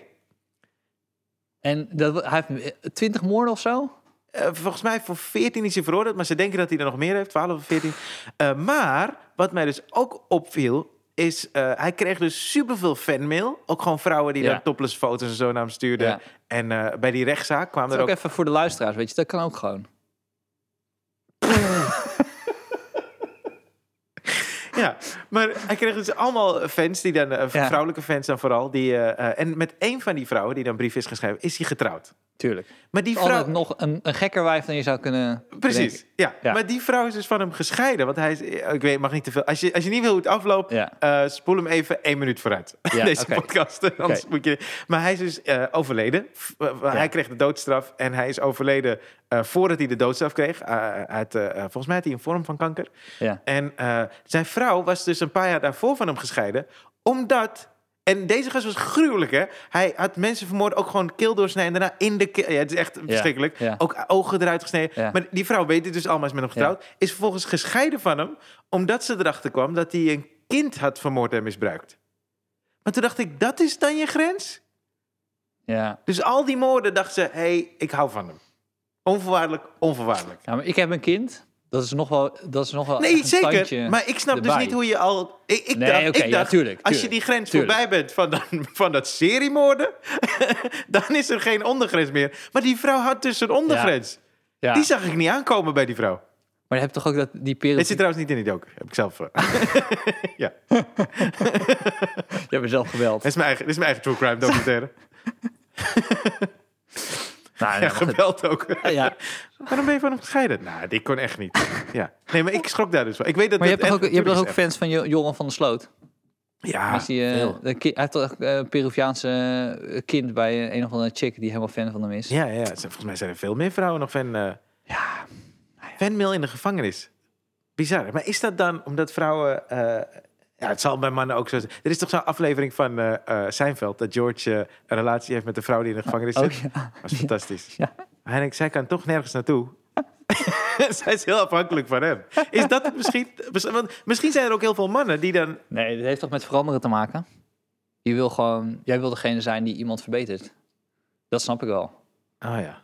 Speaker 1: En dat, hij heeft eh, 20 moorden of zo?
Speaker 3: Eh, volgens mij voor 14 is hij veroordeeld, maar ze denken dat hij er nog meer heeft, 12 of 14. Eh, maar wat mij dus ook opviel, is eh, hij kreeg dus superveel fanmail. Ook gewoon vrouwen die
Speaker 1: Ja.
Speaker 3: dan topless foto's en zo naar hem stuurden.
Speaker 1: Ja.
Speaker 3: En eh, bij die rechtszaak kwamen
Speaker 1: Dat
Speaker 3: er
Speaker 1: is
Speaker 3: ook...
Speaker 1: ook even voor de luisteraars, weet je. Dat kan ook gewoon.
Speaker 3: Ja, maar hij kreeg dus allemaal fans, die dan, eh,
Speaker 1: Ja.
Speaker 3: vrouwelijke fans dan vooral. Die, eh, eh, en met één van die vrouwen die dan brief is geschreven, is hij getrouwd.
Speaker 1: Tuurlijk.
Speaker 3: Maar die vrouw...
Speaker 1: Altijd nog een, een gekker wijf dan je zou kunnen
Speaker 3: Precies,
Speaker 1: bedenken.
Speaker 3: ja.
Speaker 1: Ja.
Speaker 3: Maar die vrouw is dus van hem gescheiden. Want hij is, eh, ik weet, mag niet te veel. Als je, als je niet wil hoe het afloopt,
Speaker 1: Ja.
Speaker 3: eh, spoel hem even één minuut vooruit.
Speaker 1: Ja,
Speaker 3: (laughs) Deze
Speaker 1: oké.
Speaker 3: podcast. Anders
Speaker 1: Oké.
Speaker 3: moet je. Maar hij is dus eh, overleden. F- eh, Hij kreeg de doodstraf en hij is overleden eh, voordat hij de doodstraf kreeg. Eh, uit, eh, eh, volgens mij had hij een vorm van kanker.
Speaker 1: Ja.
Speaker 3: En eh, zijn vrouw was dus een paar jaar daarvoor van hem gescheiden, omdat. En deze gast was gruwelijk, hè? Hij had mensen vermoord, ook gewoon keel doorsnijden. en Daarna in de keel. Ja, het is echt verschrikkelijk.
Speaker 1: ja.
Speaker 3: Ook ogen eruit gesneden.
Speaker 1: Ja.
Speaker 3: Maar die vrouw weet het dus allemaal, is met hem getrouwd. Is vervolgens gescheiden van hem, omdat ze erachter kwam dat hij een kind had vermoord en misbruikt. Maar toen dacht ik, dat is dan je grens?
Speaker 1: Ja.
Speaker 3: Dus al die moorden dacht ze, hé, hey, ik hou van hem. Onvoorwaardelijk, onvoorwaardelijk.
Speaker 1: ja, maar ik heb een kind. Dat is nog wel, dat is nog wel echt
Speaker 3: Nee,
Speaker 1: een tandje
Speaker 3: zeker. Maar ik snap dus
Speaker 1: erbij.
Speaker 3: niet hoe je al. Ik, ik
Speaker 1: Nee,
Speaker 3: dacht,
Speaker 1: oké,
Speaker 3: ik
Speaker 1: ja,
Speaker 3: dacht
Speaker 1: tuurlijk,
Speaker 3: als je
Speaker 1: tuurlijk,
Speaker 3: die grens
Speaker 1: tuurlijk.
Speaker 3: voorbij bent van, dan, van dat seriemoorden, (laughs) dan is er geen ondergrens meer. Maar die vrouw had dus een ondergrens.
Speaker 1: Ja.
Speaker 3: Die zag ik niet aankomen bij die vrouw.
Speaker 1: Maar je hebt toch ook dat, die
Speaker 3: Dit
Speaker 1: periode...
Speaker 3: zit trouwens niet in die docu. Heb ik
Speaker 1: (laughs)
Speaker 3: zelf. eh, ja,
Speaker 1: Je hebt mezelf
Speaker 3: (laughs)
Speaker 1: geweld.
Speaker 3: dit is, mijn eigen, dit is mijn eigen true crime
Speaker 1: (laughs)
Speaker 3: documentaire.
Speaker 1: Nou,
Speaker 3: ja,
Speaker 1: ja, goed.
Speaker 3: geweld ook.
Speaker 1: ja.
Speaker 3: (laughs) Waarom ben je van hem gescheiden? Nou, dit kon echt niet. ja. Nee, maar ik schrok daar dus van. Ik weet dat
Speaker 1: Maar je
Speaker 3: dat
Speaker 1: hebt toch ook,
Speaker 3: echt-
Speaker 1: je hebt toch ook
Speaker 3: tuurlijk
Speaker 1: fans van Jo- Joran van der Sloot?
Speaker 3: is echt- Ja,
Speaker 1: Als die, eh,
Speaker 3: veel.
Speaker 1: de ki- hij heeft toch eh, een Peruviaanse eh, kind bij eh, een of andere chick die helemaal fan van hem is.
Speaker 3: Ja, ja, volgens mij zijn er veel meer vrouwen nog fan. eh,
Speaker 1: Ja.
Speaker 3: Fanmail in de gevangenis. Bizar. Maar is dat dan omdat vrouwen... eh, ja, het zal bij mannen ook zo zijn. Er is toch zo'n aflevering van eh eh, Seinfeld... dat George eh, een relatie heeft met de vrouw die in de gevangenis zit?
Speaker 1: Oh, ja.
Speaker 3: Dat is fantastisch.
Speaker 1: Ja.
Speaker 3: En ik, zij kan toch nergens naartoe. (laughs) zij is heel afhankelijk van hem. Is dat het misschien? Want misschien zijn er ook heel veel mannen die dan...
Speaker 1: Nee, dat heeft toch met veranderen te maken? Je wil gewoon, jij wil degene zijn die iemand verbetert. Dat snap ik wel.
Speaker 3: Oh ja.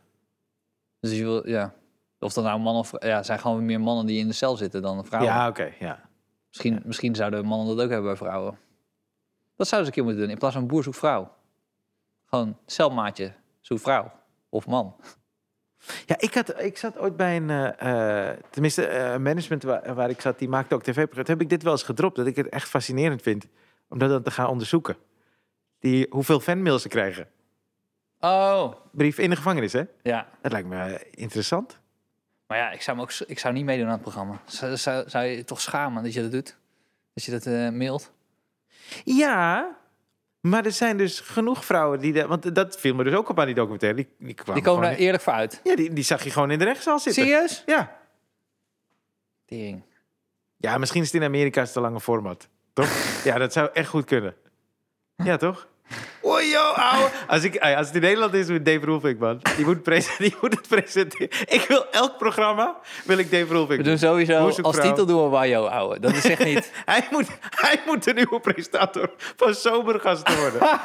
Speaker 1: Dus je wil, ja. Of dat nou mannen of ja, er zijn gewoon meer mannen die in de cel zitten dan vrouwen.
Speaker 3: Ja, oké. ja.
Speaker 1: Misschien, misschien zouden mannen dat ook hebben bij vrouwen. Dat zouden ze een keer moeten doen. In plaats van boer zoekt vrouw. Gewoon celmaatje zoekt vrouw. Of man.
Speaker 3: Ja, ik, had, ik zat ooit bij een, eh, eh, tenminste, eh, management waar, waar ik zat, die maakte ook tv-programma's. Heb ik dit wel eens gedropt, dat ik het echt fascinerend vind om dat dan te gaan onderzoeken. Die, hoeveel fanmails ze krijgen.
Speaker 1: Oh.
Speaker 3: Brief in de gevangenis, hè?
Speaker 1: Ja.
Speaker 3: Dat lijkt me eh, interessant.
Speaker 1: Maar ja, ik zou, hem ook, ik zou niet meedoen aan het programma. Zou, zou, zou je je toch schamen dat je dat doet? Dat je dat eh, mailt?
Speaker 3: Ja, maar er zijn dus genoeg vrouwen die... dat- want dat viel me dus ook op aan die documentaire. Die, die, kwamen
Speaker 1: Die komen
Speaker 3: gewoon
Speaker 1: daar
Speaker 3: in-
Speaker 1: eerlijk voor uit.
Speaker 3: Ja, die, die zag je gewoon in de rechtszaal zitten.
Speaker 1: Serieus?
Speaker 3: Ja.
Speaker 1: Tering.
Speaker 3: ja, misschien is het in Amerika is het een lange format.
Speaker 1: (laughs)
Speaker 3: Toch? ja, dat zou echt goed kunnen. Ja, toch? Oei, yo, ouwe. Als, ik, eh, als het in Nederland is met Dave Roelvink, man. Die moet, pres- (laughs) die moet het presenteren. Ik wil elk programma, wil ik Dave Roelvink.
Speaker 1: We doen sowieso,
Speaker 3: Hoe is het
Speaker 1: als
Speaker 3: vrouw?
Speaker 1: titel doen we Wajo, ouwe. Dat is echt niet...
Speaker 3: Hij moet, hij moet de nieuwe presentator van Zomergast worden. (laughs)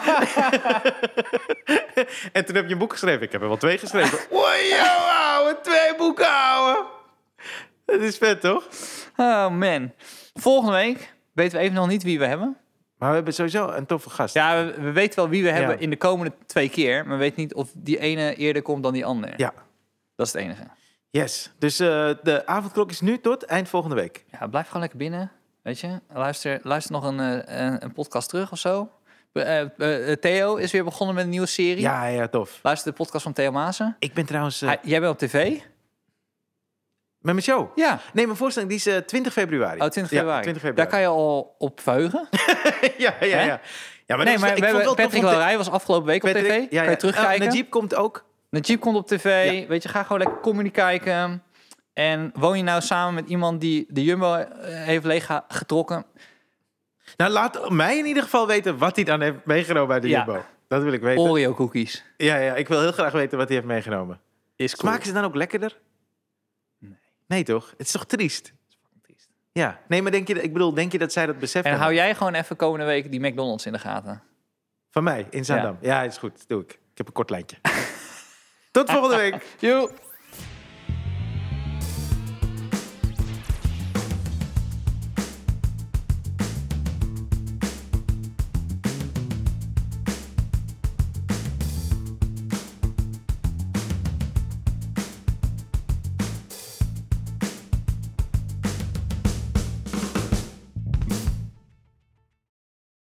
Speaker 3: en toen heb je een boek geschreven. Ik heb er wel twee geschreven. (laughs) Wow, ouwe, twee boeken, ouwe. Dat is vet, toch?
Speaker 1: (laughs) Oh man. Volgende week weten we even nog niet wie we hebben. Maar
Speaker 3: we hebben sowieso een toffe gast. Ja,
Speaker 1: Ja, we, we weten wel wie we hebben
Speaker 3: Ja.
Speaker 1: in de komende twee keer. Maar we weten niet of die ene eerder komt dan die ander.
Speaker 3: ja.
Speaker 1: Dat is het enige.
Speaker 3: yes. Dus eh, de avondklok is nu tot eind volgende week.
Speaker 1: Ja, blijf gewoon lekker binnen. Weet je, luister, luister nog een, eh, een, een podcast terug of zo. Eh, eh, eh, Theo is weer begonnen met een nieuwe serie.
Speaker 3: Ja, ja, tof.
Speaker 1: Luister de podcast van Theo Maassen.
Speaker 3: Ik ben trouwens eh,
Speaker 1: Hij- jij bent op tv?
Speaker 3: met mijn show.
Speaker 1: Ja.
Speaker 3: Nee, mijn voorstelling die is eh, 20 februari.
Speaker 1: Oh, 20
Speaker 3: Ja,
Speaker 1: februari.
Speaker 3: 20
Speaker 1: Daar
Speaker 3: februari.
Speaker 1: kan je al op verheugen.
Speaker 3: ja, (laughs) ja,
Speaker 1: Hè?
Speaker 3: ja. ja maar dat
Speaker 1: nee,
Speaker 3: is-
Speaker 1: maar
Speaker 3: ik
Speaker 1: we
Speaker 3: vond
Speaker 1: hebben
Speaker 3: wel tof
Speaker 1: Patrick
Speaker 3: om te-
Speaker 1: Larij was afgelopen week op
Speaker 3: Patrick-
Speaker 1: tv. Kan je terugkijken.
Speaker 3: Eh, Najib komt ook.
Speaker 1: Najib komt op tv. Weet je, ga gewoon lekker comedy kijken. En woon je nou samen met iemand die de Jumbo eh, heeft leeggetrokken?
Speaker 3: Nou, laat mij in ieder geval weten wat hij dan heeft meegenomen bij de
Speaker 1: Ja.
Speaker 3: Jumbo. Dat wil ik weten.
Speaker 1: Oreo cookies.
Speaker 3: Ja, ja, ik wil heel graag weten wat hij heeft meegenomen.
Speaker 1: Is cool.
Speaker 3: Smaken ze dan ook lekkerder? Nee. Nee, toch? Het is toch triest? Ja. Nee, maar denk je, ik bedoel, denk je dat zij dat beseffen?
Speaker 1: En hou jij gewoon even komende week die McDonald's in de gaten.
Speaker 3: Van mij, in Zaandam. Ja. is goed. Doe ik. Ik heb een kort lijntje. (laughs) Tot volgende week.
Speaker 1: Joep.